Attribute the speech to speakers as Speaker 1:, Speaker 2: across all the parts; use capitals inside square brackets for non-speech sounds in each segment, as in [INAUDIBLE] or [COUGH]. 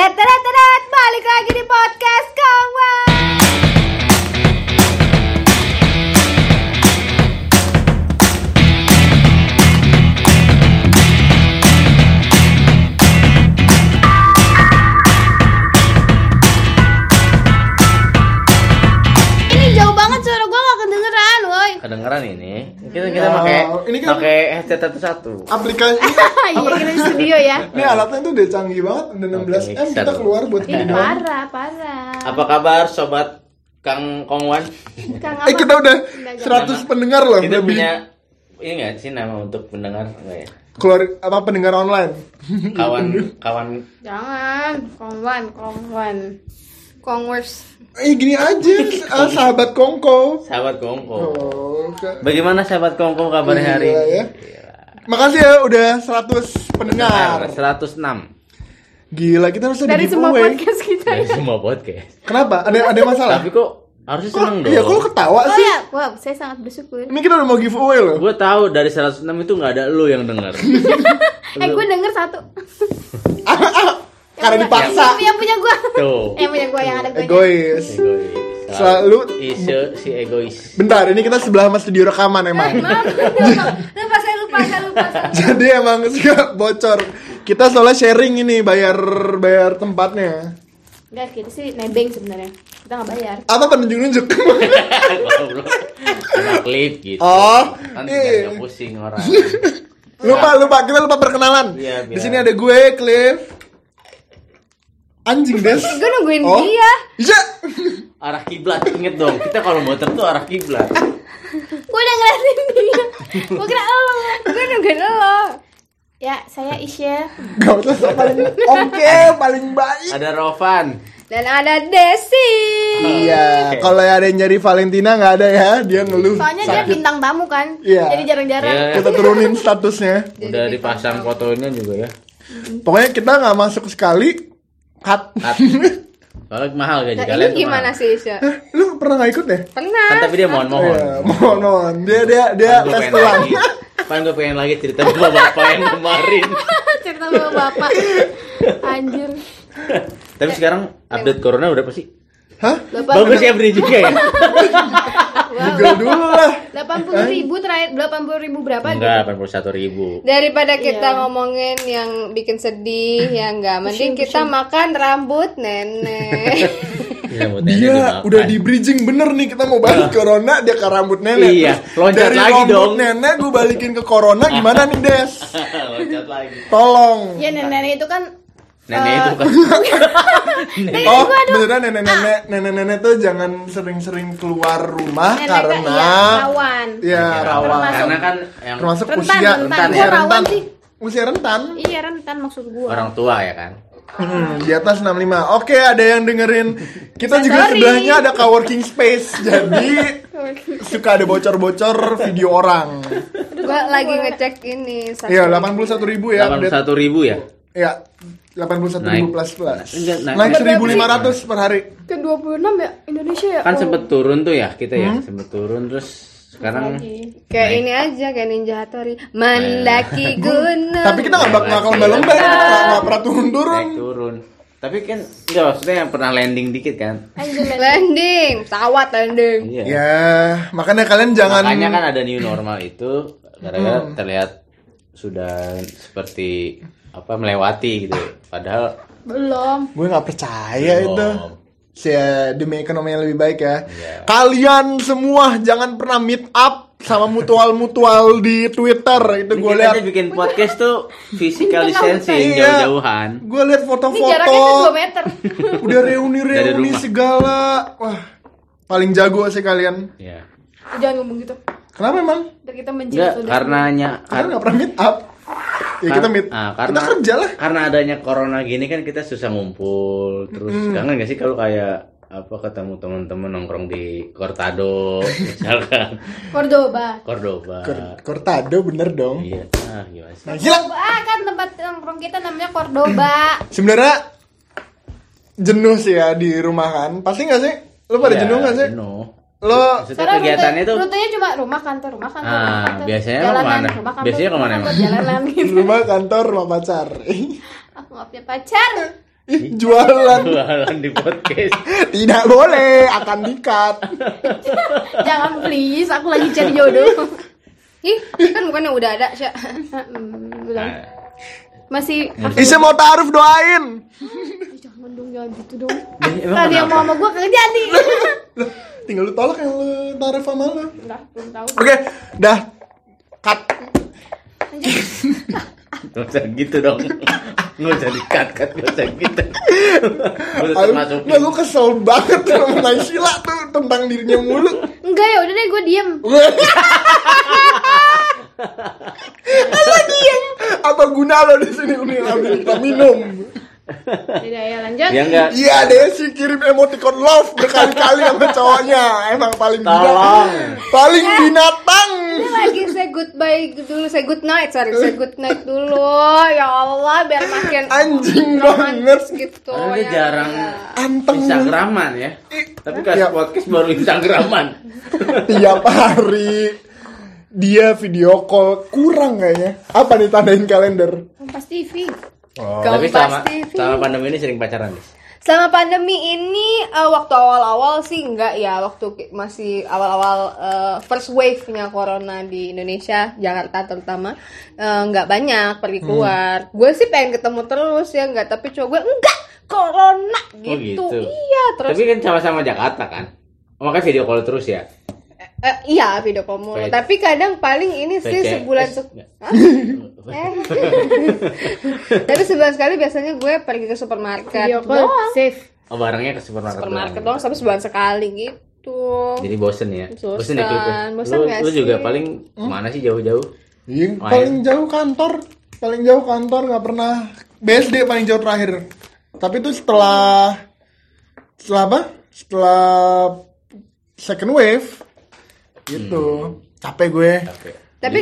Speaker 1: Teterat terat balik lagi di podcast kawan. Ini jauh banget suara gua gak kedengeran, woi.
Speaker 2: kedengeran ini kita kita
Speaker 3: Wow.
Speaker 2: pakai
Speaker 3: Ini kan-
Speaker 2: pakai headset satu satu
Speaker 3: aplikasi
Speaker 1: [LAUGHS] Iya, kita di studio ya.
Speaker 3: ini alatnya tuh udah canggih banget udah 16 m
Speaker 2: Oke, Iya.
Speaker 3: kita
Speaker 2: seru.
Speaker 3: keluar buat
Speaker 1: Ih,
Speaker 3: beli doang
Speaker 1: parah, parah.
Speaker 2: apa kabar sobat Kang Kongwan
Speaker 1: Kang
Speaker 3: eh kita udah
Speaker 1: Nggak
Speaker 3: 100 pendengar loh
Speaker 2: kita
Speaker 3: lebih
Speaker 2: punya ini nggak sih nama untuk pendengar nggak ya
Speaker 3: keluar apa pendengar online
Speaker 2: kawan
Speaker 3: [LAUGHS]
Speaker 2: kawan
Speaker 1: Jangan, kongwan, kongwan. Kongwers.
Speaker 3: eh gini
Speaker 2: [LAUGHS]
Speaker 3: aja ah, sahabat kongko
Speaker 2: sahabat Kongko
Speaker 3: oh, ke-
Speaker 2: bagaimana sahabat Kongko kabarnya hari
Speaker 3: Gila
Speaker 2: ini
Speaker 3: ya. makasih ya udah 100 pendengar
Speaker 2: 106
Speaker 3: gila kita harus ada
Speaker 1: Dari semua
Speaker 3: giveaway
Speaker 1: podcast kita.
Speaker 3: Iya.
Speaker 2: dari semua podcast
Speaker 3: kenapa ada ada masalah
Speaker 2: tapi kok harusnya
Speaker 3: kok
Speaker 2: seneng
Speaker 3: iya kok lu
Speaker 2: dong
Speaker 3: ketawa
Speaker 1: Oh
Speaker 3: sih
Speaker 1: ya, wow, saya sangat bersyukur. Eh,
Speaker 3: ini kita udah mau giveaway loh
Speaker 2: gue tahu dari 106 itu nggak ada lu yang
Speaker 3: [LAUGHS]
Speaker 2: dengar
Speaker 1: Eh, gue denger satu.
Speaker 3: karena dipaksa
Speaker 1: Yang, yang punya gue.
Speaker 2: tuh
Speaker 1: Eh, punya gue yang ada gue.
Speaker 3: egois
Speaker 2: egois
Speaker 3: Selalu-
Speaker 2: isu si egois
Speaker 3: bentar ini kita sebelah sama studio rekaman
Speaker 1: [LAUGHS]
Speaker 3: emang
Speaker 1: Maaf, lupa saya lupa saya lupa. saya lupa.
Speaker 3: [LAUGHS] Jadi emang suka bocor. Kita soalnya sharing ini bayar bayar tempatnya.
Speaker 1: Enggak, kita sih nebeng sebenarnya. Kita nggak bayar.
Speaker 3: Apa penunjuk-nunjuk? [LAUGHS]
Speaker 2: Goblok. Kena klip gitu.
Speaker 3: Oh,
Speaker 2: kan
Speaker 3: iya.
Speaker 2: biar nggak pusing orang.
Speaker 3: lupa lupa kita lupa perkenalan.
Speaker 2: Iya, biar.
Speaker 3: Di sini ada gue, Cliff. Anjing des.
Speaker 1: [LAUGHS] Gue nungguin
Speaker 3: Oh.
Speaker 1: dia.
Speaker 3: Iya.
Speaker 2: Arah kiblat inget dong. Kita kalau muter tuh arah kiblat.
Speaker 1: Gue udah ngeliatin dia. Gue kira lo. Gue nungguin lo. Ya, saya Isya.
Speaker 3: Gak usah sok paling oke, paling baik.
Speaker 2: Ada Rovan.
Speaker 1: Dan ada Desi.
Speaker 3: Iya,
Speaker 2: Oke.
Speaker 3: kalau ada yang nyari Valentina nggak ada ya, dia ngeluh.
Speaker 1: Soalnya dia bintang tamu kan.
Speaker 3: Iya.
Speaker 1: Jadi jarang-jarang.
Speaker 2: Iya.
Speaker 3: Kita turunin statusnya.
Speaker 2: Udah dipasang fotonya juga ya.
Speaker 3: Pokoknya kita nggak masuk sekali. Cut.
Speaker 2: Cut. Kalau mahal gaji
Speaker 1: Nah,
Speaker 2: kalian
Speaker 1: ini
Speaker 2: tuh
Speaker 1: gimana
Speaker 2: mahal.
Speaker 1: sih Isya?
Speaker 3: Eh, Lu pernah nggak ikut deh?
Speaker 2: Kan
Speaker 1: Pernah.
Speaker 2: tapi dia mohon-mohon.
Speaker 3: Iya, mohon mohon. Dia dia dia
Speaker 2: Gue
Speaker 3: tes
Speaker 2: pengen
Speaker 3: ulang.
Speaker 2: lagi. Pan gue pengen lagi cerita sama bapak yang kemarin.
Speaker 1: [LAUGHS] Cerita sama bapak. Anjir.
Speaker 2: Tapi sekarang update corona udah apa sih?
Speaker 3: Hah?
Speaker 1: Bapak
Speaker 2: Bagus ya beri juga ya.
Speaker 1: Wow.
Speaker 3: Google dulu lah.
Speaker 4: delapan puluh ribu terakhir delapan puluh ribu berapa gitu
Speaker 2: Enggak, 81 ribu.
Speaker 4: daripada
Speaker 1: Iya.
Speaker 4: kita ngomongin yang bikin sedih yang enggak mending kita makan rambut
Speaker 1: [LAUGHS]
Speaker 4: nenek
Speaker 3: Dia Iya, udah di bridging bener nih kita mau balik corona dia ke rambut nenek.
Speaker 2: Iya,
Speaker 3: Terus
Speaker 2: loncat
Speaker 3: dari
Speaker 2: lagi
Speaker 3: rambut
Speaker 2: dong.
Speaker 3: nenek gue balikin ke corona gimana nih Des?
Speaker 2: [LAUGHS] Loncat lagi.
Speaker 3: Tolong.
Speaker 4: ya nenek itu kan
Speaker 2: Nenek
Speaker 1: Eh.
Speaker 2: itu kan
Speaker 4: Ya,
Speaker 3: Oh,
Speaker 4: Ah.
Speaker 3: beneran nenek-nenek, nenek-nenek tuh jangan sering-sering keluar rumah
Speaker 4: Nenek,
Speaker 3: karena
Speaker 4: iya, rawan.
Speaker 3: Iya, rawan.
Speaker 2: Karena kan yang
Speaker 3: termasuk
Speaker 4: Rentan,
Speaker 3: usia
Speaker 4: rentan.
Speaker 3: rentan,
Speaker 4: Gua
Speaker 3: usia
Speaker 4: rawan
Speaker 3: rentan.
Speaker 4: sih.
Speaker 3: Usia rentan.
Speaker 4: iya rentan
Speaker 1: kan
Speaker 4: maksud gua
Speaker 2: orang tua ya kan.
Speaker 3: Hmm, di atas 65. Oke, ada yang dengerin. Kita juga
Speaker 4: sorry.
Speaker 3: sebelahnya ada coworking space. Jadi suka ada bocor-bocor video orang.
Speaker 4: gua lagi ngecek ini satu.
Speaker 3: Iya, 81.000 ya. update.
Speaker 2: 81 ribu ya.
Speaker 3: Iya. 81.000
Speaker 2: Naik.
Speaker 3: plus plus.
Speaker 2: Enggak, naik.
Speaker 3: Naik 1.500 per hari.
Speaker 1: ke 26 ya Indonesia ya.
Speaker 2: Kan sempet turun tuh ya kita
Speaker 3: Hmm?
Speaker 2: ya, sempet turun terus sekarang
Speaker 4: kayak ini aja kayak ninja hatori
Speaker 1: Iya.
Speaker 4: mendaki gunung
Speaker 3: Tapi kita nggak bak
Speaker 2: Naik.
Speaker 3: bakal lomba-lomba ya, kita nggak- nggak pernah turun-turun.
Speaker 2: naik turun. Tapi kan enggak maksudnya yang pernah landing dikit kan.
Speaker 4: landing pesawat landing
Speaker 2: Iya.
Speaker 3: Ya, makanya kalian jangan
Speaker 2: Makanya kan ada new normal itu gara-gara
Speaker 3: Hmm.
Speaker 2: terlihat sudah seperti apa melewati gitu. Padahal
Speaker 1: Belum.
Speaker 3: gue nggak percaya
Speaker 2: Belum.
Speaker 3: itu. Ya, demi ekonomi yang lebih baik ya.
Speaker 2: Iya.
Speaker 3: Kalian semua jangan pernah meet up sama mutual-mutual di Twitter. Itu
Speaker 2: Ini
Speaker 3: gue
Speaker 2: kita
Speaker 3: lihat
Speaker 2: aja bikin podcast tuh physical distancing
Speaker 3: Iya.
Speaker 2: jauh-jauhan.
Speaker 3: Gue lihat
Speaker 1: Ini jaraknya kan
Speaker 3: foto-foto.
Speaker 1: 2 meter.
Speaker 3: Udah
Speaker 2: Dari
Speaker 3: reuni-reuni
Speaker 2: rumah.
Speaker 3: segala. Wah, paling jago sih kalian.
Speaker 2: Iya.
Speaker 1: [LAUGHS] Jangan ngomong gitu.
Speaker 3: Kenapa emang?
Speaker 1: Ntar kita menjerit
Speaker 2: Enggak karenanya
Speaker 3: Karena nggak pernah meet up. Ya kita meet.
Speaker 2: Ah,
Speaker 3: kita kerja lah.
Speaker 2: Karena adanya corona gini kan kita susah ngumpul. Terus kangen gak sih kalau kayak apa ketemu teman-teman nongkrong di
Speaker 3: [LAUGHS]
Speaker 2: Cortado misalkan
Speaker 1: Cordoba.
Speaker 2: Cordoba.
Speaker 3: Kor- Cortado bener
Speaker 2: Ah.
Speaker 3: dong.
Speaker 2: Iya. Ah, gimana sih?
Speaker 3: Nah, gila.
Speaker 1: Ah, kan tempat nongkrong kita namanya Cordoba.
Speaker 3: Sebenarnya jenuh sih ya di rumah kan. Pasti nggak sih? Lo pada
Speaker 2: Iya,
Speaker 3: jenuh nggak sih?
Speaker 2: Jenuh.
Speaker 3: Lo
Speaker 2: Maksudnya kegiatannya
Speaker 1: rute-
Speaker 2: tuh
Speaker 1: rutenya cuma rumah kantor, rumah kantor,
Speaker 2: Ah,
Speaker 1: rumah kantor.
Speaker 2: biasanya lo
Speaker 1: jalanan,
Speaker 2: kemana?
Speaker 1: Rumah kantor,
Speaker 2: Biasanya
Speaker 1: rumah
Speaker 2: [LAUGHS] kemana
Speaker 1: kantor,
Speaker 2: emang?
Speaker 1: Jalanan gitu.
Speaker 3: [LAUGHS] rumah kantor rumah pacar.
Speaker 1: Aku nggak punya pacar.
Speaker 3: Jualan
Speaker 2: jualan di podcast
Speaker 3: tidak boleh, akan dikat.
Speaker 1: Jangan please, aku lagi cari jodoh.
Speaker 2: [LAUGHS]
Speaker 4: Ih, ini kan bukannya udah ada, Sya.
Speaker 1: Mm, Belum.
Speaker 2: Nah,
Speaker 1: Masih
Speaker 3: Isa mau taruh doain.
Speaker 1: Ih, jangan dong, jangan gitu dong.
Speaker 2: emang
Speaker 1: Tadi yang
Speaker 2: kenapa?
Speaker 1: mau sama gue kagak
Speaker 2: [LAUGHS]
Speaker 1: jadi.
Speaker 3: Tinggal lu tolak yang lu taruh sama lu.
Speaker 1: Enggak, belum tahu.
Speaker 3: Oke, dah. Cut.
Speaker 2: nggak usah gitu
Speaker 3: [LAUGHS]
Speaker 2: dong nggak usah dikat kat nggak usah gitu Nggak usah
Speaker 3: Aduh,
Speaker 2: termasuk
Speaker 3: Nggak, gue kesel banget sama Naysila tuh tentang dirinya mulu.
Speaker 1: [LAUGHS] Enggak ya, udah deh gue diem.
Speaker 3: Apa diem? Apa guna lo di sini lu nih ambil kita minum?
Speaker 1: Tidak ya, lanjut.
Speaker 2: ya enggak
Speaker 3: Iya Desi kirim emoticon love berkali-kali sama cowoknya. Emang paling gila.
Speaker 2: Tolong.
Speaker 3: Paling binatang.
Speaker 4: Ini lagi saya goodbye dulu, saya good night, sorry, saya good night dulu. Ya Allah, biar makin
Speaker 3: Anjing banget.
Speaker 4: romantis gitu.
Speaker 2: Karena dia
Speaker 4: ya.
Speaker 2: jarang
Speaker 3: Anteng
Speaker 2: Instagraman ya tapi kan
Speaker 3: Iya.
Speaker 2: podcast baru Instagraman
Speaker 3: tiap hari dia video call kurang kayaknya. Apa nih tandain kalender?
Speaker 1: Kompas TV.
Speaker 4: Kompas
Speaker 2: tapi selama
Speaker 4: TV.
Speaker 2: selama pandemi ini sering pacaran Dis.
Speaker 4: Selama pandemi ini eh, waktu awal-awal sih enggak ya, waktu ki- masih awal-awal eh, first wave-nya corona di Indonesia, Jakarta terutama eh, enggak banyak pergi keluar. Gue sih pengen ketemu terus ya enggak, tapi cowok gue enggak corona
Speaker 2: Oh,
Speaker 4: gitu.
Speaker 2: gitu.
Speaker 4: Iya, terus
Speaker 2: tapi kan sama-sama Jakarta kan makanya video call terus ya
Speaker 4: eh, iya video call mulu.
Speaker 2: Pece.
Speaker 4: Tapi kadang paling ini sih
Speaker 2: Pece.
Speaker 4: sebulan
Speaker 2: Eh,
Speaker 4: sek-
Speaker 2: [LAUGHS] enggak.
Speaker 4: eh. [LAUGHS] Tapi sebulan sekali biasanya gue pergi ke supermarket.
Speaker 1: Video call,
Speaker 4: doang.
Speaker 1: safe.
Speaker 2: [LAUGHS] oh barangnya ke supermarket
Speaker 4: Supermarket
Speaker 2: doang.
Speaker 4: doang sampai sebulan sekali gitu.
Speaker 2: jadi bosen ya
Speaker 4: Bosen.
Speaker 2: bosen ya klipnya
Speaker 4: Bosen
Speaker 2: lu,
Speaker 4: nggak
Speaker 2: lu
Speaker 4: sih?
Speaker 2: juga paling mana sih jauh-jauh
Speaker 3: Iya,
Speaker 2: Oh,
Speaker 3: paling jauh kantor, paling jauh kantor nggak pernah BSD paling jauh terakhir. Tapi itu setelah setelah apa? Setelah second wave gitu. Capek [LAUGHS] gue.
Speaker 2: Capek. [CLEARS THROAT]
Speaker 4: Tapi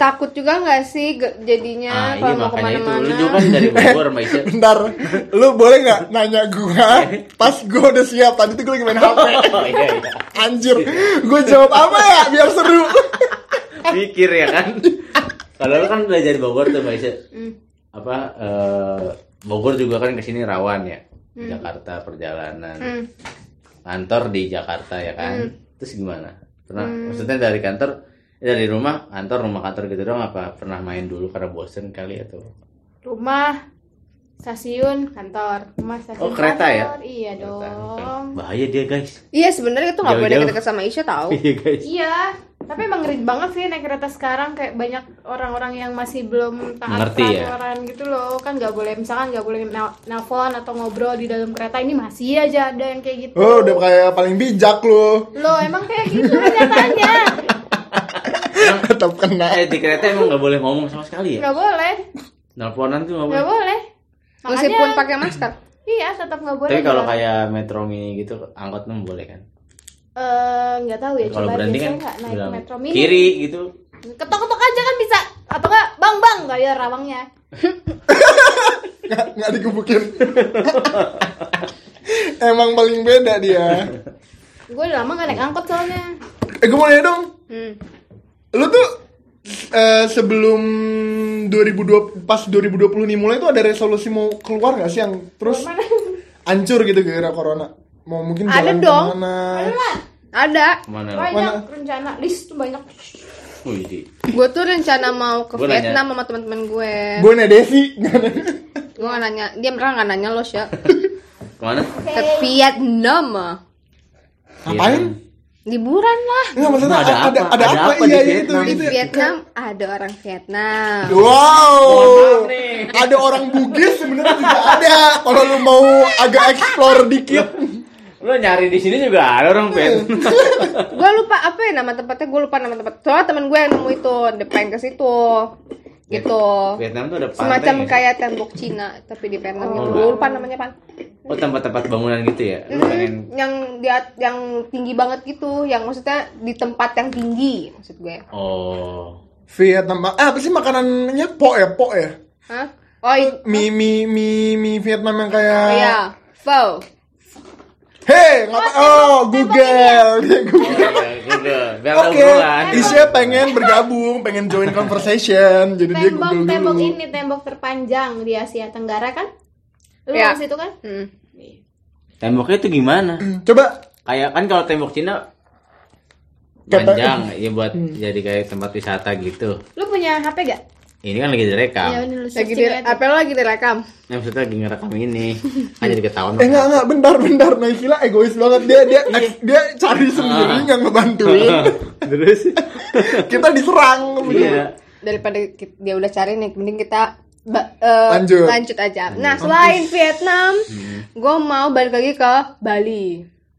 Speaker 4: takut juga nggak sih ge-
Speaker 2: ah
Speaker 4: jadinya
Speaker 2: iya
Speaker 4: Ya, kalau mau
Speaker 2: makanya itu lu
Speaker 4: kemana-mana?
Speaker 2: juga kan
Speaker 4: [LAUGHS]
Speaker 2: dari Bogor sama Isya
Speaker 3: Bentar, lu boleh nggak nanya gue [LAUGHS] pas gue udah siap? Tadi tuh gue lagi main HP.
Speaker 2: [LAUGHS] oh iya iya
Speaker 3: Anjir, gue jawab apa ya biar seru?
Speaker 2: [LAUGHS] mikir ya kan kalau lu kan udah dari Bogor tuh Mbak Isya
Speaker 1: Hmm.
Speaker 2: apa eh, Bogor juga kan kesini rawan ya
Speaker 1: Hmm.
Speaker 2: Jakarta perjalanan kantor di Jakarta ya
Speaker 1: Hmm.
Speaker 2: kan terus gimana pernah maksudnya dari kantor eh, dari rumah kantor rumah kantor gitu dong apa pernah main dulu karena bosen kali atau
Speaker 1: Rumah, stasiun, kantor. Rumah, stasiun,
Speaker 2: Oh, kereta ya?
Speaker 1: kantor. Iya dong.
Speaker 2: bahaya dia guys [LAUGHS]
Speaker 4: Iya sebenarnya itu nggak boleh
Speaker 2: Jauh-jauh.
Speaker 4: deket-deket sama Isya tahu.
Speaker 2: iya guys
Speaker 1: Iya, tapi emang ngerit banget sih naik kereta sekarang kayak banyak orang-orang yang masih belum taat
Speaker 2: Ngerti ya?
Speaker 1: peraturan gitu loh. Kan nggak boleh misalkan nggak boleh nel- nelpon atau ngobrol di dalam kereta ini masih aja ada yang kayak gitu.
Speaker 3: [LAUGHS] Oh, udah kayak paling bijak lu.
Speaker 1: Loh, emang kayak gitu kenyataannya.
Speaker 3: Tetap kena.
Speaker 2: eh di kereta emang nggak boleh ngomong sama sekali ya
Speaker 1: Nggak boleh,
Speaker 2: nelponan tuh nggak boleh
Speaker 1: nggak boleh. Makanya
Speaker 4: Meskipun pakai masker.
Speaker 1: iya tetap nggak boleh.
Speaker 2: tapi kalau
Speaker 1: Nggak-
Speaker 2: kayak metro mini gitu angkot tuh boleh kan
Speaker 1: Eh, nggak tahu ya
Speaker 2: kalau
Speaker 1: coba
Speaker 2: berhenti
Speaker 1: biasanya
Speaker 2: kan
Speaker 1: nggak naik
Speaker 2: bilang
Speaker 1: metro mini.
Speaker 2: kiri gitu
Speaker 1: Ketok-ketok aja kan bisa. Atau nggak bang bang nggak ya rawangnya.
Speaker 3: nggak nggak dikebukin [LAUGHS] emang paling beda dia
Speaker 1: Gue udah lama nggak naik angkot soalnya.
Speaker 3: eh gue mau nanya dong
Speaker 4: Hmm.
Speaker 3: lu tuh eh, sebelum 2020 pas 2020 nih mulai tuh ada resolusi mau keluar nggak sih yang terus hancur gitu gara-gara corona mau mungkin
Speaker 4: Ada
Speaker 3: jalan
Speaker 4: dong.
Speaker 3: kemana
Speaker 4: Ada.
Speaker 2: kemana lu?
Speaker 1: banyak rencana list tuh banyak
Speaker 2: Wih, di-
Speaker 4: Gue tuh rencana mau ke
Speaker 2: Gua nanya.
Speaker 4: Vietnam sama teman-teman gue.
Speaker 3: gue nih Desi [LAUGHS]
Speaker 4: Gue nggak nanya, dia merah nggak nanya lo
Speaker 2: [LAUGHS]
Speaker 4: Sya.
Speaker 2: kemana
Speaker 4: Ke Vietnam ah.
Speaker 3: ngapain
Speaker 4: liburan lah.
Speaker 3: nggak maksudnya
Speaker 2: Ada
Speaker 3: ada ada,
Speaker 2: apa? Ada
Speaker 3: apa,
Speaker 2: apa di
Speaker 3: iya itu
Speaker 2: Vietnam?
Speaker 3: itu
Speaker 4: Di Vietnam ada orang Vietnam.
Speaker 3: Wow,
Speaker 2: Mohon Oh, maaf nih.
Speaker 3: ada orang Bugis sebenarnya juga ada. Kalau lu mau agak explore
Speaker 2: [LAUGHS]
Speaker 3: dikit,
Speaker 2: Lu nyari di sini juga ada orang pet.
Speaker 4: gue lupa apa ya nama tempatnya gue lupa nama tempat soalnya temen gue yang nemu itu dia pengen ke situ gitu
Speaker 2: Iya, [LAUGHS] Vietnam tuh ada pantai. ya?
Speaker 4: semacam
Speaker 2: nggak sih?
Speaker 4: kayak tembok Cina tapi di Vietnam gitu
Speaker 2: Oh.
Speaker 4: gue lupa namanya pan
Speaker 2: oh tempat-tempat bangunan gitu ya. Lu
Speaker 4: Hmm.
Speaker 2: pengen
Speaker 4: yang dia yang tinggi banget gitu yang maksudnya di tempat yang tinggi maksud gue
Speaker 2: oh
Speaker 3: Vietnam. Eh, apa sih makanannya po ya, po ya?
Speaker 4: Hah? oh itu
Speaker 3: Mie mie mie mie Vietnam yang kayak
Speaker 1: Oh, iya.
Speaker 4: ya Pho
Speaker 3: Hei, ngapa oh, Google. Dia Google.
Speaker 2: Iya, juga. Biar ada
Speaker 3: Oke,
Speaker 2: hubungan.
Speaker 3: Isya pengen bergabung, pengen join conversation, jadi dia
Speaker 1: tembok
Speaker 3: Google
Speaker 1: tembok
Speaker 3: dulu.
Speaker 1: ini tembok terpanjang di Asia Tenggara kan Lu ya.
Speaker 4: Ya.
Speaker 1: situ kan?
Speaker 4: Hmm.
Speaker 2: Temboknya itu gimana?
Speaker 3: Coba
Speaker 2: Kayak kan kalau tembok Cina
Speaker 3: Kata-
Speaker 2: panjang ya buat jadi kayak tempat wisata gitu.
Speaker 1: Lu punya HP gak?
Speaker 2: Ini kan lagi direkam.
Speaker 1: Ya ini lu
Speaker 4: Lagi
Speaker 1: searching
Speaker 4: di,
Speaker 1: aja.
Speaker 4: apa lo lagi direkam?
Speaker 2: Nah, maksudnya lagi ngerekam ini. Kan jadi ketahuan.
Speaker 3: Eh enggak enggak bentar bentar Naikila egois banget dia dia dia cari sendiri nggak ngebantuin
Speaker 2: Terus
Speaker 3: kita diserang
Speaker 2: iya.
Speaker 4: Daripada ki- dia udah cari nih, mending kita ba- eh,
Speaker 3: Lanjut.
Speaker 4: aja. Nah, selain Vietnam, gue mau balik lagi ke Bali.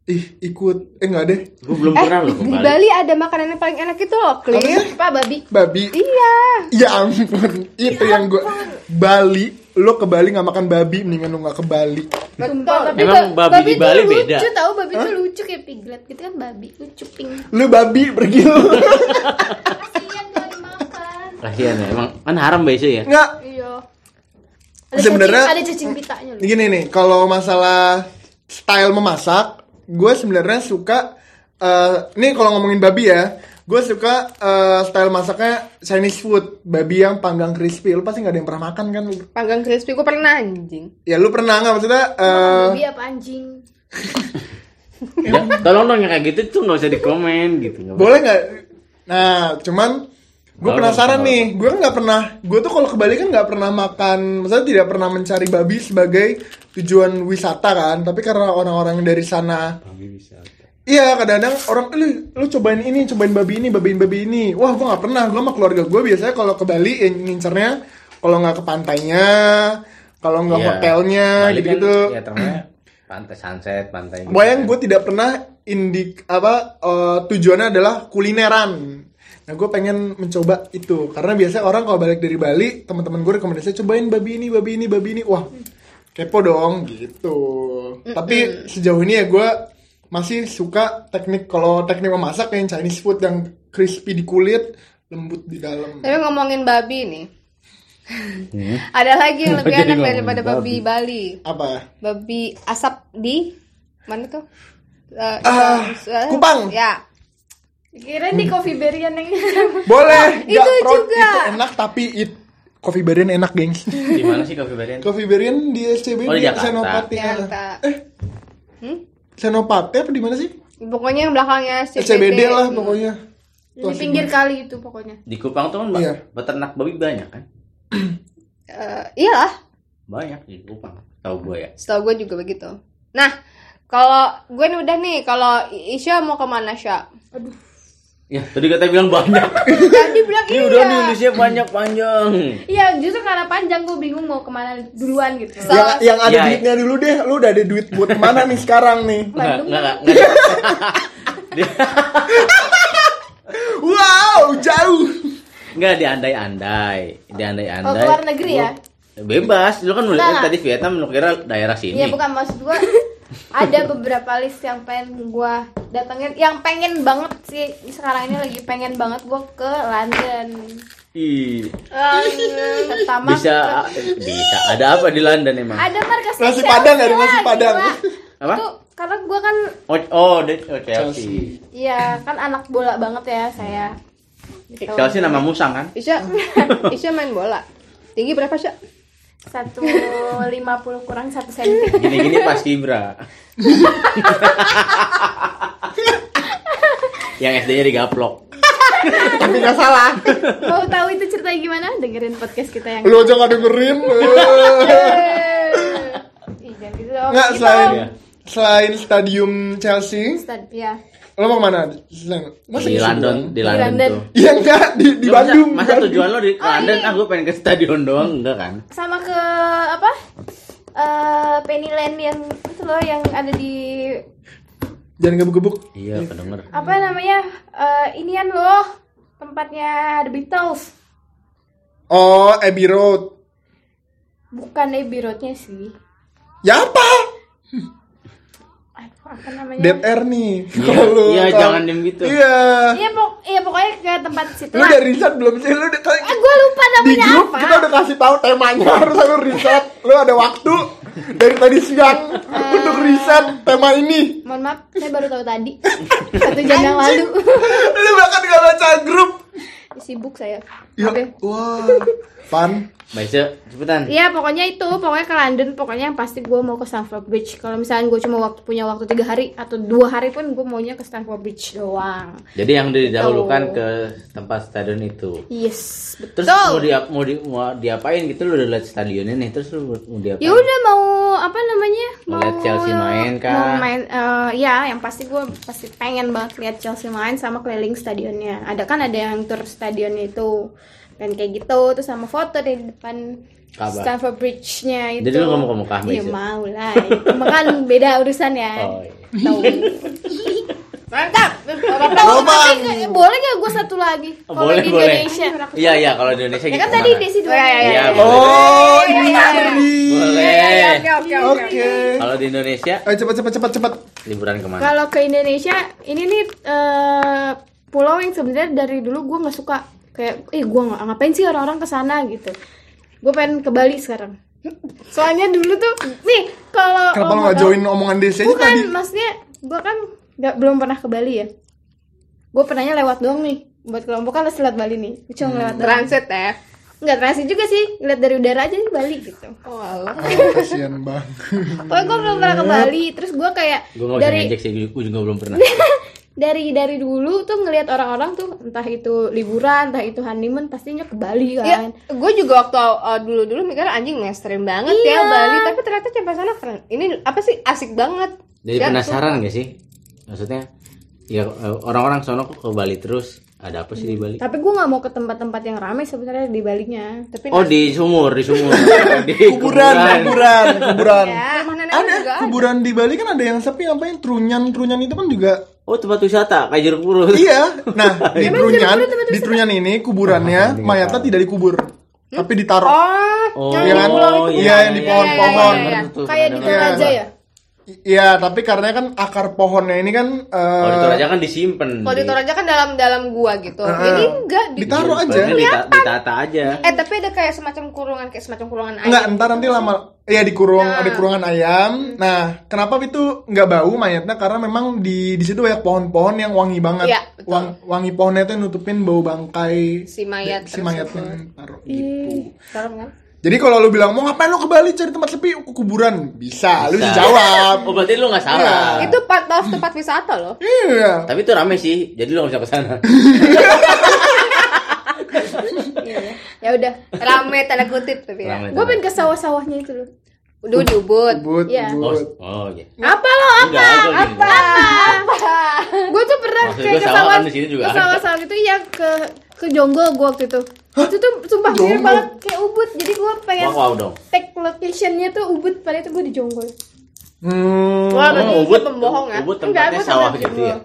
Speaker 4: Eh,
Speaker 3: ih ikut eh enggak deh
Speaker 2: Gue belum pernah
Speaker 1: Eh,
Speaker 2: loh
Speaker 4: di
Speaker 2: kembali.
Speaker 4: Bali ada makanan yang paling enak itu loh, clear.
Speaker 1: Apa babi?
Speaker 3: babi
Speaker 4: Iya.
Speaker 3: ya ampun itu yang gue Bali lo ke Bali nggak makan babi mendingan lo nggak ke Bali
Speaker 1: Sumpah, tapi
Speaker 2: Emang
Speaker 1: ba-
Speaker 2: babi di
Speaker 1: tuh
Speaker 2: Bali
Speaker 1: lucu,
Speaker 2: beda?
Speaker 1: tahu babi tuh lucu kayak piglet gitu kan babi lucu pink.
Speaker 3: lu babi pergi lu [LAUGHS]
Speaker 1: Kasihan kalau dimakan.
Speaker 2: Kasihan ya, emang kan haram biasa
Speaker 1: [LAUGHS]
Speaker 2: ya.
Speaker 3: nggak
Speaker 1: Iya.
Speaker 3: Sebenarnya- Iya.
Speaker 1: cacing- ada cacing pitanya loh.
Speaker 3: gini nih kalau masalah style memasak gue sebenarnya suka eh nih kalau ngomongin babi ya gue suka eh, style masaknya Chinese food babi yang panggang crispy lu pasti nggak ada yang pernah makan kan
Speaker 4: Panggang crispy gue pernah anjing.
Speaker 3: ya lu pernah nggak maksudnya eh,
Speaker 1: babi apa anjing?
Speaker 2: Ya, tolong dong yang kayak gitu tuh nggak usah dikomen gitu. nggak
Speaker 3: boleh nggak nah cuman gue
Speaker 2: Boleh,
Speaker 3: penasaran
Speaker 2: boleh.
Speaker 3: nih gue kan nggak pernah gue tuh kalau kebalik kan nggak pernah makan maksudnya tidak pernah mencari babi sebagai tujuan wisata kan tapi karena orang-orang yang dari sana Iya kadang-kadang orang "Eh, lu, lu cobain ini cobain babi ini babiin babi ini wah gue nggak pernah gue sama keluarga gue biasanya kalau ke Bali ya ngincernya kalau nggak ke pantainya kalau nggak
Speaker 2: Iya.
Speaker 3: hotelnya
Speaker 2: Bali kan,
Speaker 3: gitu-gitu
Speaker 2: Ya ternyata pantai sunset, pantai. gitu.
Speaker 3: Bayang gue tidak pernah indik apa eh, tujuannya adalah kulineran. Nah gue pengen mencoba itu karena biasanya orang kalau balik dari Bali teman-teman gue rekomendasi cobain babi ini babi ini babi ini wah kepo dong gitu. Tapi sejauh ini ya gue masih suka teknik kalau teknik memasak yang Chinese food yang crispy di kulit lembut di dalam.
Speaker 4: Tapi ngomongin babi nih,
Speaker 2: Hmm.
Speaker 4: [LAUGHS] ada lagi yang lebih
Speaker 2: Jadi
Speaker 4: enak
Speaker 2: ngomongin
Speaker 4: daripada babi Bali.
Speaker 3: Apa? ya?
Speaker 4: Babi asap di mana tuh? Eh,
Speaker 3: Ah,
Speaker 4: eh,
Speaker 3: Kupang.
Speaker 4: Ya.
Speaker 1: Kira di Coffee Berry yang
Speaker 4: [LAUGHS]
Speaker 3: Boleh.
Speaker 4: Nah, itu
Speaker 3: nggak pro-
Speaker 4: juga.
Speaker 3: Itu enak tapi it Coffee Barian enak,
Speaker 4: [LAUGHS]
Speaker 3: gengs.
Speaker 2: Di mana sih Coffee Barian?
Speaker 3: Coffee Barian di SCB
Speaker 2: Oh, di
Speaker 3: di
Speaker 2: Jakarta.
Speaker 3: Senopati.
Speaker 4: Jakarta.
Speaker 3: Senopati apa di mana sih?
Speaker 4: Pokoknya yang belakangnya
Speaker 2: Eh,
Speaker 4: CBD.
Speaker 3: CBD lah pokoknya.
Speaker 1: di pinggir kali itu pokoknya.
Speaker 2: Di Kupang tuh kan ba-
Speaker 3: Iya.
Speaker 2: beternak babi banyak kan?
Speaker 4: Eh, iyalah,
Speaker 2: Banyak di Kupang. Tahu gue ya.
Speaker 4: setahu gue juga begitu. Nah, kalau gue nih udah nih, kalau Isya mau kemana
Speaker 2: [LAUGHS]
Speaker 4: Sya?
Speaker 2: Ya,
Speaker 3: Iya.
Speaker 2: tadi kata bilang
Speaker 3: [LAUGHS]
Speaker 2: banyak.
Speaker 4: Tadi bilang iya.
Speaker 2: Ini udah nih listnya panjang-panjang.
Speaker 1: Iya justru karena panjang gue bingung mau kemana duluan gitu.
Speaker 4: Sa-
Speaker 3: Yang, yang ada
Speaker 2: Ya.
Speaker 3: duitnya dulu deh, lu udah ada duit buat mana nih sekarang nih?
Speaker 2: Enggak,
Speaker 1: Bandung.
Speaker 2: enggak, enggak. [LAUGHS]
Speaker 3: Wow, jauh.
Speaker 2: Enggak diandai-andai,
Speaker 3: Nah,
Speaker 1: Kalau
Speaker 2: diandai-andai.
Speaker 1: keluar negeri ya?
Speaker 2: Bebas, lu kan
Speaker 1: Enggak,
Speaker 2: mulai
Speaker 1: enggak.
Speaker 2: tadi Vietnam lu kira daerah sini.
Speaker 1: Iya bukan maksud gue ada beberapa list yang pengen gue datengin yang pengen banget sih sekarang ini lagi pengen banget gue ke London
Speaker 2: Ih,
Speaker 1: pertama
Speaker 2: bisa eh, bisa ada apa di London emang?
Speaker 1: ada markas
Speaker 3: Nasi
Speaker 1: Chelsea
Speaker 3: Padang ada
Speaker 1: lah,
Speaker 3: nasi Padang.
Speaker 1: gila.
Speaker 2: Apa?
Speaker 1: itu karena gue kan
Speaker 2: Oh, oh, de- oh, Chelsea.
Speaker 1: ya kan anak bola banget ya saya Gitu.
Speaker 2: Chelsea. nama musang kan?
Speaker 4: Isya, [LAUGHS] Isya main bola. Tinggi berapa Sya?
Speaker 1: satu lima puluh kurang satu senti
Speaker 2: Gini-gini pas Kibra. Yang SD-nya digaplok.
Speaker 3: Tapi nggak salah.
Speaker 1: mau tahu itu ceritanya gimana dengerin podcast kita yang
Speaker 3: Lu aja nggak dengerin.
Speaker 1: Ih, jangan gitu dong.
Speaker 3: Nggak
Speaker 1: Itu-
Speaker 3: selain ya.
Speaker 2: ya.
Speaker 3: selain stadium Chelsea,
Speaker 1: Stan- ya
Speaker 3: lo mau kemana? Selain- Masa
Speaker 2: Di
Speaker 3: gitu
Speaker 2: London,
Speaker 3: doang?
Speaker 2: di London,
Speaker 1: London.
Speaker 2: tuh.
Speaker 3: Iya enggak di, di
Speaker 2: Lu masa-
Speaker 3: Bandung. kan?
Speaker 2: Masa, tujuan lo di London? Ah, gue pengen ke stadion doang, enggak kan?
Speaker 1: sama ke apa Eh Pennyland yang itu loh yang ada di
Speaker 3: Jangan gebuk-gebuk.
Speaker 2: Iya, kedenger.
Speaker 1: apa namanya Eh inian loh tempatnya The Beatles
Speaker 3: Oh, Abbey Road.
Speaker 1: bukan Abbey Road-nya sih
Speaker 3: Ya apa?
Speaker 1: Aduh, apa namanya
Speaker 3: Dead Air nih.
Speaker 2: Iya,
Speaker 3: Kalau lu-
Speaker 2: iya,
Speaker 3: kalau-
Speaker 2: jangan diem gitu.
Speaker 3: Iya.
Speaker 1: Iya pok iya pokoknya ke tempat situ
Speaker 3: Lu
Speaker 1: lah.
Speaker 3: udah riset belum sih? Lu udah
Speaker 1: Eh, gue lupa
Speaker 3: di
Speaker 1: namanya
Speaker 3: grup
Speaker 1: apa.
Speaker 3: kita udah kasih tahu temanya [LAUGHS] harus lu riset lu ada waktu dari tadi siang untuk riset tema [LAUGHS] ini
Speaker 1: Mohon maaf, saya baru tahu tadi. Satu jam yang lalu.
Speaker 3: lu bahkan gak baca grup
Speaker 1: sibuk saya.
Speaker 3: Ya,
Speaker 1: Oke.
Speaker 3: wah, fun.
Speaker 2: Mbak Ica, cepetan.
Speaker 1: Iya pokoknya itu, pokoknya ke London, pokoknya yang pasti gue mau ke Stamford Bridge. Kalau misalnya gue cuma waktu punya waktu tiga hari atau dua hari pun gue maunya ke Stamford Bridge doang.
Speaker 2: Jadi yang
Speaker 1: Gitu.
Speaker 2: didahulukan ke tempat stadion itu.
Speaker 1: Yes, betul.
Speaker 2: Terus mau di mau di mau diapain gitu lu udah liat stadionnya nih, terus lu mau diapain?
Speaker 1: Ya udah mau apa namanya? Mau
Speaker 2: Ngeliat Kan? Chelsea main kah?
Speaker 1: Mau main eh, ya yang pasti gue pasti pengen banget lihat Chelsea main sama keliling stadionnya. Ada kan ada yang tur stadionnya itu. Dan kayak gitu terus sama foto di depan
Speaker 2: Kabar.
Speaker 1: Stamford Bridge-nya itu.
Speaker 2: Jadi lu nggak mau ke Mekah, Mbak
Speaker 1: Iya
Speaker 2: Ica?
Speaker 1: mau lah. Cuma kan beda urusan ya.
Speaker 2: Oh, iya. [LAUGHS]
Speaker 1: Tahu.
Speaker 4: Mantap.
Speaker 1: Tahu,
Speaker 3: Roman.
Speaker 1: tapi nggak- eh, boleh gak gue satu lagi?
Speaker 2: Oh,
Speaker 1: Kalau
Speaker 2: boleh
Speaker 1: di
Speaker 2: boleh.
Speaker 1: Indonesia.
Speaker 2: Iya iya kalau di Indonesia
Speaker 1: Ya
Speaker 2: gitu.
Speaker 1: kan tadi
Speaker 2: mana?
Speaker 1: Desi dua.
Speaker 4: Ya, ya,
Speaker 2: Iya,
Speaker 4: ya.
Speaker 3: Oh, ini
Speaker 4: iya,
Speaker 3: tadi.
Speaker 1: iya,
Speaker 2: Boleh.
Speaker 4: Oke, oke, oke.
Speaker 3: Oke. Eh,
Speaker 2: Kalau di Indonesia
Speaker 3: Ayo cepat cepat cepat cepat.
Speaker 2: liburan kemana?
Speaker 1: Kalau ke Indonesia, ini nih eh, pulau yang sebenarnya dari dulu gue nggak suka kayak, eh gue nggak ngapain sih orang-orang ke sana gitu. Gue pengen ke Bali sekarang. Soalnya dulu tuh, nih kalau
Speaker 3: Kenapa lo
Speaker 1: mau
Speaker 3: nggak
Speaker 1: tahu-
Speaker 3: join omongan Desi aja
Speaker 1: Oh, Bukan,
Speaker 3: tadi?
Speaker 1: maksudnya gue kan nggak belum pernah ke Bali ya. Gue pernahnya lewat doang nih. Buat kelompok kan harus lewat Bali nih. Gue Cuma
Speaker 3: Hmm.
Speaker 1: lewat doang.
Speaker 4: Transit ya.
Speaker 1: Nggak transit juga sih, ngeliat dari udara aja di Bali gitu.
Speaker 4: Oh, Allah.
Speaker 3: Oh, kasihan bang.
Speaker 1: Pokoknya gue belum pernah
Speaker 3: Hmm.
Speaker 1: ke Bali. Terus gue kayak
Speaker 2: Gue nggak bisa
Speaker 1: dari
Speaker 2: ngejek sih, gue juga belum pernah.
Speaker 1: [LAUGHS] dari dari dulu tuh ngelihat orang-orang tuh entah itu liburan entah itu honeymoon pastinya ke Bali kan
Speaker 4: Ya, gue juga waktu uh, dulu-dulu mikir anjing mainstream banget
Speaker 1: Iya.
Speaker 4: ya Bali, tapi ternyata sampai sana keren. Ini apa sih asik banget.
Speaker 2: Jadi
Speaker 4: Dan-
Speaker 2: penasaran gak sih? Maksudnya ya eh, orang-orang sono kok ke Bali terus ada apa sih di Bali?
Speaker 1: tapi gue nggak mau ke tempat-tempat yang ramai sebenarnya di Balinya
Speaker 4: Tapi
Speaker 2: Oh di sumur, di
Speaker 1: [LAUGHS]
Speaker 2: sumur, di
Speaker 3: Kuburan, kuburan, kuburan.
Speaker 4: mana
Speaker 3: Ada kuburan di Bali kan ada yang sepi ngapain? Trunyan, trunyan itu kan juga
Speaker 2: Oh tempat wisata, kayak jeruk purut.
Speaker 3: [LAUGHS] Iya. Nah, di
Speaker 1: Emang
Speaker 3: Trunyan,
Speaker 1: jeruk purut
Speaker 3: di Trunyan ini kuburannya mayatnya tidak dikubur, tapi ditaruh.
Speaker 4: Hmm?
Speaker 2: Oh,
Speaker 4: Oh,
Speaker 3: Iya kan? Iya, yang di pohon-pohon.
Speaker 2: iya, iya, iya.
Speaker 1: kayak di
Speaker 2: Ada-
Speaker 1: Toraja ya
Speaker 3: Iya, tapi karena kan akar pohonnya ini kan eh,
Speaker 2: Kalau di Toraja kan disimpan.
Speaker 4: kalau di
Speaker 2: Di-
Speaker 4: Toraja kan dalam dalam gua gitu. Ini enggak di
Speaker 3: ditaruh aja.
Speaker 2: Barusan dita- ditata aja.
Speaker 4: Eh, tapi ada kayak semacam kurungan kayak semacam kurungan air.
Speaker 3: Enggak, entar nanti lama ya dikurung,
Speaker 4: Nah.
Speaker 3: ada kurungan
Speaker 4: Hmm.
Speaker 3: ayam. Nah, kenapa itu nggak bau mayatnya? Karena memang di di situ banyak pohon-pohon yang wangi banget.
Speaker 4: Iya, betul.
Speaker 3: Wang- wangi pohonnya itu yang nutupin bau bangkai
Speaker 4: Si mayat
Speaker 3: si
Speaker 4: tersebut.
Speaker 3: mayatnya yang taruh gitu.
Speaker 4: Serem kan?
Speaker 3: Jadi kalau lu bilang mau ngapain lu ke Bali cari tempat sepi ke kuburan, bisa, lu bisa [LAUGHS] jawab.
Speaker 2: Oh berarti lu nggak salah.
Speaker 4: Itu part of tempat wisata loh.
Speaker 3: iya.
Speaker 2: Iya. Tapi itu rame sih, jadi lu nggak bisa kesana.
Speaker 1: ya udah
Speaker 4: Rame tanda kutip tapi ya.
Speaker 2: Rame.
Speaker 1: gue pengen ke sawah-sawahnya itu loh
Speaker 4: Udah jubut.
Speaker 3: But,
Speaker 1: Iya.
Speaker 2: Oh,
Speaker 3: but.
Speaker 2: oh iya.
Speaker 1: apa lo apa
Speaker 2: Enggak, gua gini.
Speaker 1: apa gue tuh pernah
Speaker 2: Maksud
Speaker 1: kayak
Speaker 2: gua
Speaker 1: ke
Speaker 2: sawah
Speaker 1: sawah
Speaker 2: kan di sini juga
Speaker 1: ke
Speaker 2: ada.
Speaker 1: sawah-sawah itu iya ke ke jonggol gue waktu itu itu tuh sumpah mirip
Speaker 3: Jonggol?
Speaker 1: banget kayak ubud jadi gue pengen
Speaker 2: Wow, wow dong.
Speaker 1: take locationnya tuh ubud padahal itu gue di jonggol
Speaker 3: Hmm.
Speaker 4: Wah, berarti
Speaker 2: Oh,
Speaker 4: itu
Speaker 2: Ubud-
Speaker 4: pembohong ya?
Speaker 2: Ubud
Speaker 4: Enggak,
Speaker 2: tempatnya
Speaker 4: gua
Speaker 2: sawah
Speaker 4: sama
Speaker 2: gitu
Speaker 4: dulu.
Speaker 2: ya.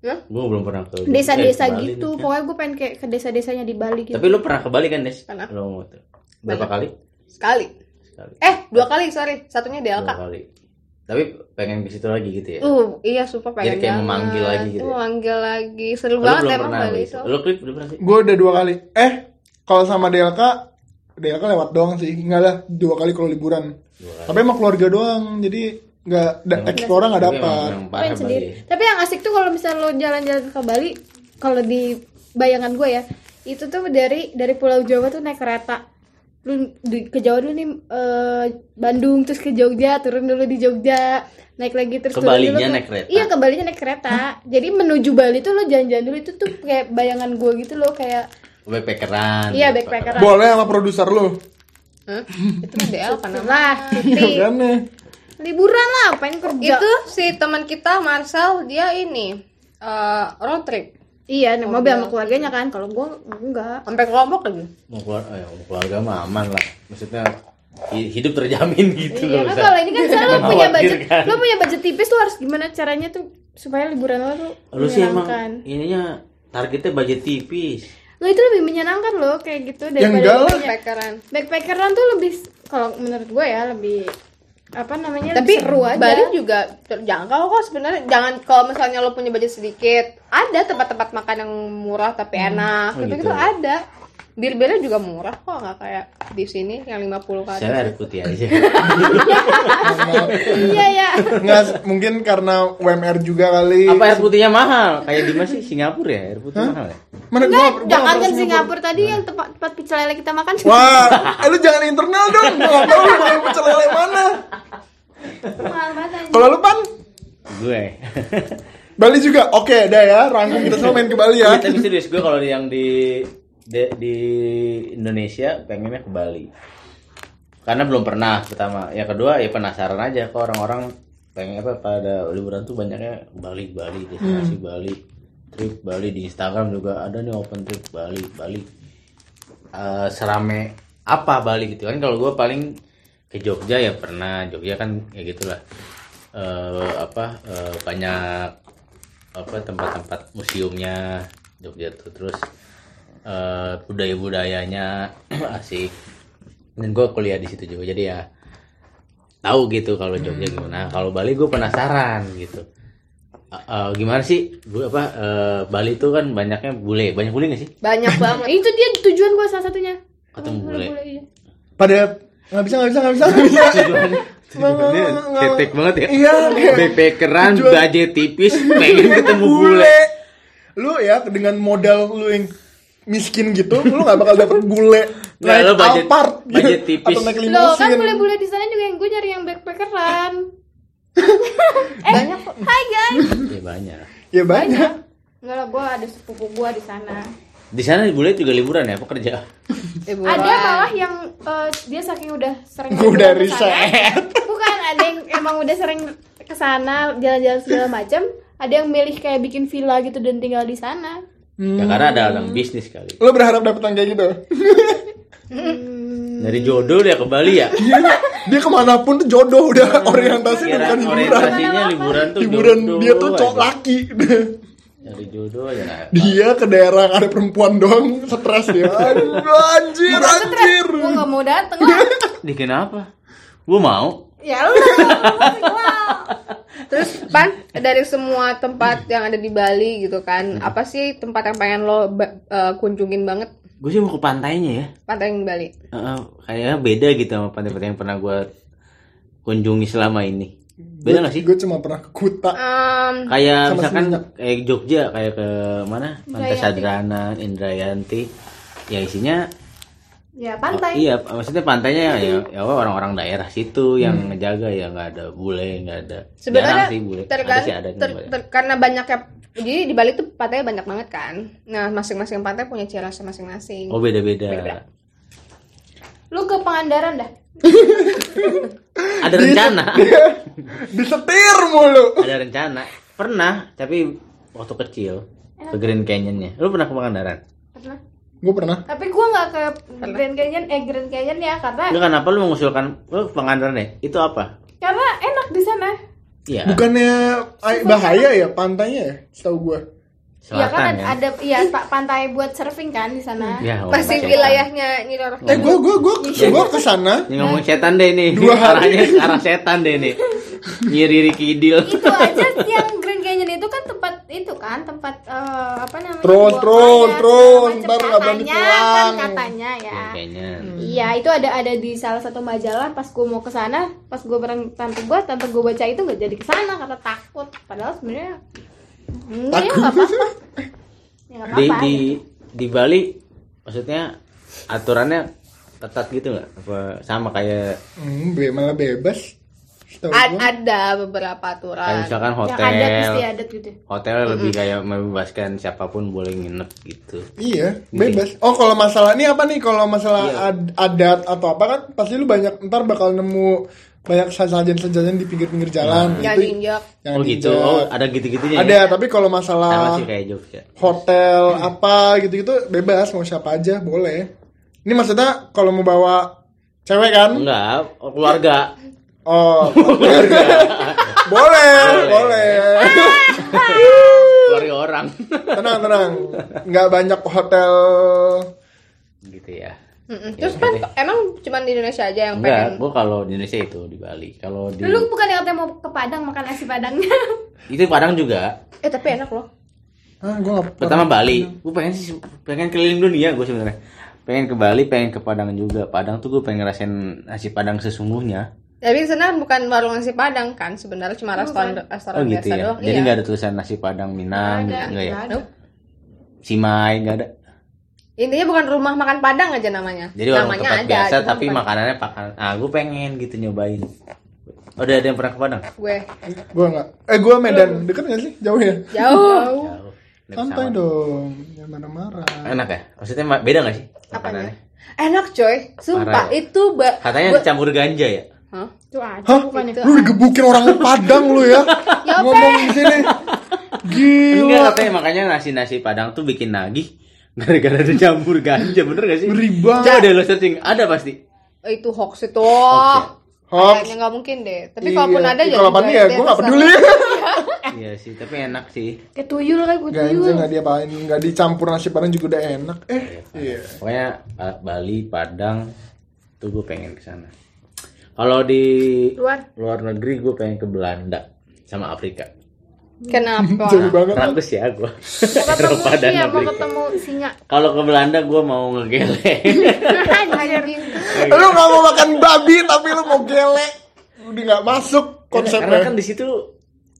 Speaker 4: Hah?
Speaker 2: Gue belum pernah ke
Speaker 1: desa-desa
Speaker 2: eh, ke Bali
Speaker 1: gitu
Speaker 2: nih.
Speaker 1: pokoknya gue pengen kayak ke desa-desanya di Bali gitu
Speaker 2: Tapi lu pernah ke Bali kan, Des?
Speaker 4: Pernah.
Speaker 2: Lu mau tuh. Berapa kali?
Speaker 4: Sekali.
Speaker 2: Sekali.
Speaker 4: Eh, dua kali, sorry. Satunya
Speaker 2: Dua
Speaker 4: DLK.
Speaker 2: kali. Tapi pengen ke situ lagi gitu ya.
Speaker 4: Uh, iya super pengen
Speaker 2: Jadi kayak
Speaker 4: banget.
Speaker 2: memanggil lagi gitu ya?
Speaker 4: Memanggil lagi. Seru
Speaker 2: Lu
Speaker 4: banget
Speaker 2: belum
Speaker 4: emang
Speaker 2: pernah
Speaker 4: Bali
Speaker 2: gitu.
Speaker 4: so.
Speaker 2: Lu klip belum pernah sih?
Speaker 3: Gue udah dua kali. Eh, kalau sama DLK, DLK lewat doang sih. Enggak lah, dua kali kalau liburan. Tapi emang keluarga doang, jadi nggak da- eksplora nggak
Speaker 2: Tapi emang-
Speaker 3: dapat.
Speaker 2: emang
Speaker 1: Main
Speaker 2: parah Bali.
Speaker 1: sendiri. Tapi yang asik tuh kalau misalnya lo jalan-jalan ke Bali, kalau di bayangan gue ya, itu tuh dari dari Pulau Jawa tuh naik kereta. Lu di- ke Jawa dulu nih eh, Bandung terus ke Jogja, turun dulu di Jogja, naik lagi terus
Speaker 2: Ke
Speaker 1: turun dulu
Speaker 2: Balinya
Speaker 1: ke-
Speaker 2: naik kereta?
Speaker 1: Iya, ke Balinya naik kereta. Jadi menuju Bali tuh lo jalan-jalan dulu itu tuh kayak bayangan gue gitu loh kayak
Speaker 2: Backpackeran.
Speaker 1: iya backpacker
Speaker 3: Boleh sama produser lu.
Speaker 4: Hah? Itu mah DLK namanya.
Speaker 1: lah cuti
Speaker 3: Kan nih.
Speaker 1: liburan lah pengen kerja
Speaker 4: Itu si teman kita Marcel, dia ini eh road trip.
Speaker 1: iya naik mobil sama keluarganya kan kalau gue enggak
Speaker 4: Sampai kelompok
Speaker 1: Iya.
Speaker 4: lagi.
Speaker 2: Mau keluar, eh, mau keluarga mah aman lah. Maksudnya hi- hidup terjamin [LAUGHS] gitu
Speaker 1: Iya,
Speaker 2: loh.
Speaker 1: kan
Speaker 2: Ustaz.
Speaker 1: kalau ini kan misalnya lo punya
Speaker 2: Khawatir
Speaker 1: budget,
Speaker 2: kan.
Speaker 1: lo punya budget tipis tuh harus gimana caranya tuh supaya liburan lo tuh
Speaker 2: Lu sih emang
Speaker 1: menyenangkan.
Speaker 2: ininya targetnya budget tipis.
Speaker 1: Lo itu lebih menyenangkan lo kayak gitu
Speaker 3: Ya enggak
Speaker 1: lo
Speaker 3: lah.
Speaker 1: punya-
Speaker 4: Backpackeran.
Speaker 1: backpackeran tuh lebih kalau menurut gue ya lebih apa namanya
Speaker 4: Tapi
Speaker 1: lebih Iya, seru aja.
Speaker 4: Bali juga terjangkau kok sebenarnya. Jangan kalau misalnya lo punya budget sedikit, ada tempat-tempat makan yang murah tapi enak.
Speaker 2: Oh,
Speaker 4: gitu
Speaker 2: gitu.
Speaker 4: gitu ada. Bir-birnya juga murah kok, nggak
Speaker 2: [LAUGHS]
Speaker 4: kayak di sini yang 50 kali.
Speaker 2: Saya air putih aja.
Speaker 1: iya ya
Speaker 3: Nggak, mungkin karena UMR juga kali.
Speaker 2: Apa air putihnya mahal? Kayak di masih Singapura ya, air putih mahal ya?
Speaker 3: Mana gua, gua nggak
Speaker 1: [LAUGHS] Jangan kan
Speaker 3: pernah
Speaker 1: Singapura tadi
Speaker 2: Nah.
Speaker 1: yang tempat tempat pecel lele kita makan.
Speaker 3: Wah, eh, lu jangan internal dong. Gua nggak tahu lu mau yang pecel lele mana.
Speaker 1: Mahal banget anjing.
Speaker 3: Kalau lu pan
Speaker 2: Gue.
Speaker 3: Bali juga. Oke, udah ya. Rangkum kita semua main ke Bali
Speaker 2: [LAUGHS]
Speaker 3: ya.
Speaker 2: Tapi serius gue kalau yang di di, di Indonesia pengennya ke Bali. Karena belum pernah pertama. Yang kedua ya penasaran aja kok orang-orang pengen apa pada liburan tuh banyaknya Bali Bali destinasi Bali trip Bali di Instagram juga ada nih open trip Bali Bali Eh, serame apa Bali gitu kan kalau gue paling ke Jogja ya pernah Jogja kan ya gitulah Eh, apa eh, banyak apa tempat-tempat museumnya Jogja tuh terus eh, budaya-budayanya [CLEARS THROAT] asik dan gue kuliah di situ juga jadi ya tahu gitu kalau Jogja gimana kalau Bali gue penasaran gitu Eh, eh, gimana sih gue apa eh, Bali tuh kan banyaknya bule banyak bule gak sih [LAUGHS]
Speaker 4: Banyak banget.
Speaker 1: [LAUGHS] Itu dia tujuan gua salah satunya. Kalau
Speaker 2: Ketemu bule.
Speaker 1: iya.
Speaker 3: Pada nggak bisa, nggak bisa, nggak bisa, nggak bisa.
Speaker 2: Tujuannya
Speaker 3: Nggak, nggak, nggak.
Speaker 2: cetek banget ya
Speaker 3: Iya, kayak
Speaker 2: backpackeran
Speaker 3: tujuan-
Speaker 2: budget tipis pengen ketemu bule
Speaker 3: bule. Lu ya dengan modal lu yang miskin gitu, lu nggak bakal dapet bule.
Speaker 2: Nggak, lu budget-
Speaker 3: Alphard, gitu.
Speaker 2: budget tipis.
Speaker 3: Atau naik
Speaker 1: Loh, kan
Speaker 3: limosin.
Speaker 1: bule-bule di sana juga yang gue nyari yang backpackeran. [LAUGHS] Eh,
Speaker 4: Banyak kok.
Speaker 1: Hai guys.
Speaker 2: ya banyak
Speaker 3: Ya banyak.
Speaker 1: Enggak lah, gue ada sepupu gue di sana.
Speaker 2: di sana bule juga liburan ya apa kerja
Speaker 4: Ibu
Speaker 1: Ada
Speaker 4: Ron.
Speaker 1: malah yang eh, dia saking udah sering
Speaker 3: [LAUGHS]
Speaker 1: liburan
Speaker 3: Udah
Speaker 1: ke
Speaker 3: riset.
Speaker 1: sana. [LAUGHS] Bukan, ada yang emang udah sering ke sana jalan-jalan segala macam. Ada yang milih kayak bikin villa gitu dan tinggal di sana.
Speaker 2: ya karena ada orang bisnis kali
Speaker 3: Lu berharap dapet yang kayak gitu?
Speaker 2: dari jodoh ya ke Bali ya
Speaker 3: Iya, dia kemanapun tuh jodoh udah orientasi
Speaker 2: Hmm, Kira-
Speaker 3: bukan hiburan.
Speaker 2: orientasinya liburan tuh
Speaker 3: Hiburan
Speaker 2: jodoh
Speaker 3: dia tuh cowok
Speaker 2: aja.
Speaker 3: laki.
Speaker 2: Nyari jodoh aja nah.
Speaker 3: dia ke daerah ada perempuan doang stres dia. Aduh, anjir, anjir.
Speaker 4: Gua nggak mau [LAUGHS] dateng lah.
Speaker 2: Di kenapa? Gua mau.
Speaker 4: ya lu terus pan dari semua tempat yang ada di Bali gitu kan
Speaker 2: Hmm.
Speaker 4: apa sih tempat yang pengen lo ba- eh, kunjungin banget
Speaker 2: Gue sih mau ke pantainya ya.
Speaker 4: pantai yang di Bali
Speaker 2: Heeh, kayaknya beda gitu sama pantai-pantai yang pernah gua kunjungi selama ini. Beda gak sih?
Speaker 3: Gue cuma pernah ke Kuta.
Speaker 1: Ah.
Speaker 4: Em,
Speaker 2: Kayak
Speaker 3: Sama
Speaker 2: misalkan
Speaker 3: seminyak.
Speaker 2: kayak Jogja, kayak ke mana?
Speaker 1: Indrayanti.
Speaker 2: Pantai Sadrana, Indrayanti. Ya isinya
Speaker 1: Ya,
Speaker 2: Oh,
Speaker 1: pantai.
Speaker 2: iya, maksudnya pantainya ya, ya orang-orang daerah situ yang ngejaga ya nggak ada bule, nggak ada.
Speaker 4: sebenarnya
Speaker 2: Jarang sih bule. ada
Speaker 4: tergan-
Speaker 2: sih ada
Speaker 4: ter-
Speaker 2: cuma ya.
Speaker 4: ter- karena banyaknya jadi di Bali tuh pantainya banyak banget kan nah masing-masing pantai punya ciri khasnya masing-masing
Speaker 2: Oh beda-beda.
Speaker 4: Beda.
Speaker 1: Lu ke Pangandaran dah.
Speaker 2: Ada rencana.
Speaker 3: Disetir mulu.
Speaker 2: ada rencana pernah tapi waktu kecil ke Grand Canyonnya lu pernah ke Pangandaran
Speaker 1: Pernah.
Speaker 3: Gue pernah.
Speaker 1: Tapi gue nggak ke Grand Canyon, eh Grand Canyon ya karena
Speaker 2: lu kenapa lu mengusulkan lu ke Pangandaran ya itu apa
Speaker 1: karena enak di sana.
Speaker 2: iya
Speaker 3: Bukannya ay- bahaya ya pantainya ya, setahu gue.
Speaker 1: Iya kan
Speaker 2: selatan
Speaker 1: ada,
Speaker 2: ya
Speaker 1: ada iya pak pantai buat surfing kan di sana.
Speaker 2: ya orang
Speaker 4: pasti
Speaker 2: setan.
Speaker 4: wilayahnya Nyiroro
Speaker 1: Oh.
Speaker 3: Eh gue gue gue
Speaker 1: Iya.
Speaker 3: gue ke sana.
Speaker 2: ini ngomong setan deh nih
Speaker 3: Dua hari.
Speaker 2: arahnya ke arah setan deh nih nyiri kidil
Speaker 1: Itu aja yang Grand Canyon itu kan tempat itu kan tempat eh, apa namanya?
Speaker 3: Terus,
Speaker 1: buah
Speaker 3: terus,
Speaker 1: paya,
Speaker 3: terus.
Speaker 1: segala macam.
Speaker 3: Ntar nggak berani
Speaker 1: Katanya,
Speaker 3: pulang.
Speaker 1: kan katanya ya.
Speaker 2: Grand Canyon
Speaker 1: Iya, itu ada ada di salah satu majalah pas gue mau ke sana, pas gue bareng tante gue, tante gue baca itu nggak jadi ke sana karena takut. Padahal sebenarnya hmm, ya nggak apa-apa. Ya nggak
Speaker 2: di
Speaker 1: apa-apa.
Speaker 2: di di Bali maksudnya aturannya ketat gitu nggak apa sama kayak
Speaker 3: [LAUGHS] Hmm, be- malah bebas. Setahu
Speaker 4: A-
Speaker 3: gue.
Speaker 4: ada beberapa
Speaker 2: kayak
Speaker 4: aturan
Speaker 2: misalkan
Speaker 1: Kan. Yang adat
Speaker 2: hotel
Speaker 1: mesti adat gitu.
Speaker 2: hotel lebih kayak membebaskan siapapun boleh nginep gitu
Speaker 3: Iya, bebas. Oh, kalau masalah ini apa nih? Kalau masalah ad- adat atau apa kan pasti lu banyak ntar bakal nemu banyak sajajan-sajajan di pinggir-pinggir jalan
Speaker 4: yang
Speaker 3: gitu.
Speaker 4: diinjak
Speaker 3: Yang
Speaker 2: oh gitu, Nah,
Speaker 3: diinjak.
Speaker 2: oh ada gitu-gitunya ya?
Speaker 3: ada, tapi kalau
Speaker 2: Sama
Speaker 3: masalah
Speaker 2: sih kayak ya. Jogja
Speaker 3: hotel apa gitu-gitu bebas mau siapa aja boleh. Ini maksudnya kalau mau bawa cewek kan?
Speaker 2: Hmm. Enggak, keluarga
Speaker 3: Oh, boleh, boleh.
Speaker 2: Keluarga orang [LAUGHS]
Speaker 3: Tenang, tenang. Nggak banyak hotel.
Speaker 2: Gitu ya
Speaker 4: Mm-mm. terus pan
Speaker 2: iya.
Speaker 4: emang cuma di Indonesia aja yang pengen
Speaker 2: Enggak, gua kalau di Indonesia itu di Bali Kalau di...
Speaker 1: Lu
Speaker 3: Hmm.
Speaker 1: bukan yang katanya mau ke Padang makan nasi Padangnya.
Speaker 2: Itu Padang juga
Speaker 4: eh [LAUGHS] tapi enak loh
Speaker 3: Ah, gue nggak
Speaker 2: Pertama Bali Gue pengen sih, pengen keliling dunia gue sebenarnya Pengen ke Bali, pengen ke Padang juga Padang tuh gue pengen ngerasain nasi Padang sesungguhnya
Speaker 4: Tapi di sana bukan warung nasi Padang kan, sebenarnya cuma restoran restoran
Speaker 2: Oh gitu
Speaker 4: biasa
Speaker 2: ya.
Speaker 4: doang.
Speaker 2: Jadi
Speaker 4: iya.
Speaker 2: nggak ada tulisan nasi Padang Minang gitu nggak ya?
Speaker 4: Nope.
Speaker 2: Simai nggak ada.
Speaker 4: Intinya bukan rumah makan Padang aja namanya.
Speaker 2: Jadi warung
Speaker 4: namanya
Speaker 2: tempat
Speaker 4: ada,
Speaker 2: biasa
Speaker 4: cuma
Speaker 2: tapi
Speaker 4: bukan
Speaker 2: makanannya makanan. Ah, gue pengen gitu nyobain. Udah ada yang pernah ke Padang?
Speaker 4: gue
Speaker 3: Gue nggak. Eh gue Medan. Deket nggak sih? Jauh ya?
Speaker 4: jauh.
Speaker 2: Jauh. Naik
Speaker 3: Santai
Speaker 2: pesawat.
Speaker 3: dong. Jangan marah-marah.
Speaker 2: Enak ya? Maksudnya ma- beda nggak sih?
Speaker 4: Apanya?
Speaker 2: Makanannya.
Speaker 4: Enak coy, sumpah
Speaker 2: Parah ya?
Speaker 4: itu ba-
Speaker 2: Katanya
Speaker 4: gua-
Speaker 2: dicampur ganja ya.
Speaker 4: Hah?
Speaker 1: Itu ada
Speaker 3: Hah?
Speaker 1: bukannya.
Speaker 3: Lu digebukin orang Padang lu ya? Ngomong di sini.
Speaker 4: Iya.
Speaker 2: Enggak
Speaker 3: Gila.
Speaker 2: katanya makanya nasi-nasi Padang tuh bikin nagih [LAUGHS] gara-gara dicampur ganja, bener gak sih?
Speaker 3: Beribah.
Speaker 2: Coba deh lo searching, ada pasti.
Speaker 4: itu hoax itu. Oh.
Speaker 3: Hoax.
Speaker 4: Kayaknya nggak mungkin deh. Tapi kalaupun ada
Speaker 3: ya.
Speaker 4: ya
Speaker 3: Kalau ya gue nggak peduli.
Speaker 2: [LAUGHS] Iya sih, tapi enak sih.
Speaker 1: Kayak tuyul kan gue
Speaker 3: Ganja
Speaker 1: tuyul.
Speaker 3: nggak diapain, nggak dicampur nasi padang juga udah enak. Eh, iya.
Speaker 2: Pokoknya Ba- Bali, Padang, tuh gue pengen ke sana. Kalau di
Speaker 1: Luar.
Speaker 2: luar negeri gue pengen ke Belanda sama Afrika. [LAUGHS]
Speaker 4: Kenapa?
Speaker 3: Jauh banget.
Speaker 2: Rakus ya gue. [LAUGHS]
Speaker 1: Mau ketemu
Speaker 2: Eropa dan
Speaker 1: iya, mau
Speaker 2: Afrika.
Speaker 1: ketemu singa.
Speaker 4: [LAUGHS]
Speaker 2: Kalau ke Belanda gue mau ngegele.
Speaker 1: Anjir.
Speaker 4: gitu.
Speaker 3: lu nggak mau makan babi tapi lu mau gelek. Udah nggak masuk
Speaker 2: Karena kan
Speaker 3: konsepnya.
Speaker 2: di situ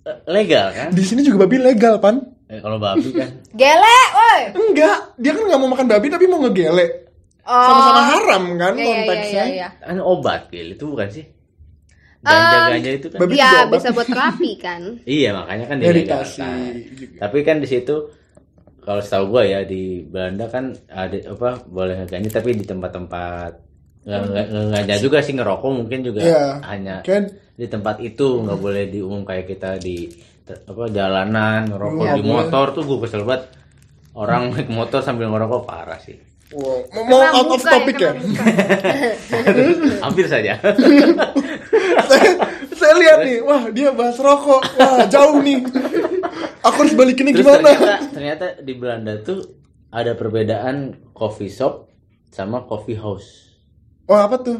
Speaker 2: eh, legal kan.
Speaker 3: Di sini juga babi legal pan.
Speaker 2: Eh, Kalau babi kan.
Speaker 4: Gelek, woi.
Speaker 3: Enggak, dia kan nggak mau makan babi tapi mau ngegelek. Sama-sama haram kan
Speaker 4: Oh. Iya, iya,
Speaker 3: konteksnya.
Speaker 4: iya, iya.
Speaker 2: kan obat gel itu bukan sih ganja-ganja itu kan
Speaker 3: Babi
Speaker 4: Iya,
Speaker 3: juga obat.
Speaker 4: bisa buat terapi
Speaker 2: [LAUGHS]
Speaker 4: kan.
Speaker 2: iya makanya kan
Speaker 3: Meditasi.
Speaker 2: dilegalkan tapi kan di situ kalau setahu gua ya di Belanda kan ada apa boleh ngeganja tapi di tempat-tempat nggak nggak- nggak ngeganja juga sih ngerokok mungkin juga
Speaker 3: Iya.
Speaker 2: hanya
Speaker 3: Kan
Speaker 2: di tempat itu nggak boleh diumum kayak kita di ter- apa jalanan ngerokok
Speaker 3: Nggak
Speaker 2: di
Speaker 3: boleh.
Speaker 2: motor tuh gua kesel banget orang naik motor sambil ngerokok parah sih
Speaker 3: Wow. Mau- Mau
Speaker 1: Kena
Speaker 3: out
Speaker 1: buka
Speaker 3: of
Speaker 1: ya,
Speaker 3: topic ya?
Speaker 1: kena buka.
Speaker 2: hampir saja
Speaker 3: saya, [LAUGHS] saya lihat nih, wah dia bahas rokok, wah jauh nih. Aku harus balikinnya
Speaker 2: Terus
Speaker 3: gimana?
Speaker 2: ternyata ternyata di Belanda tuh ada perbedaan coffee shop sama coffee house.
Speaker 3: Wah apa tuh?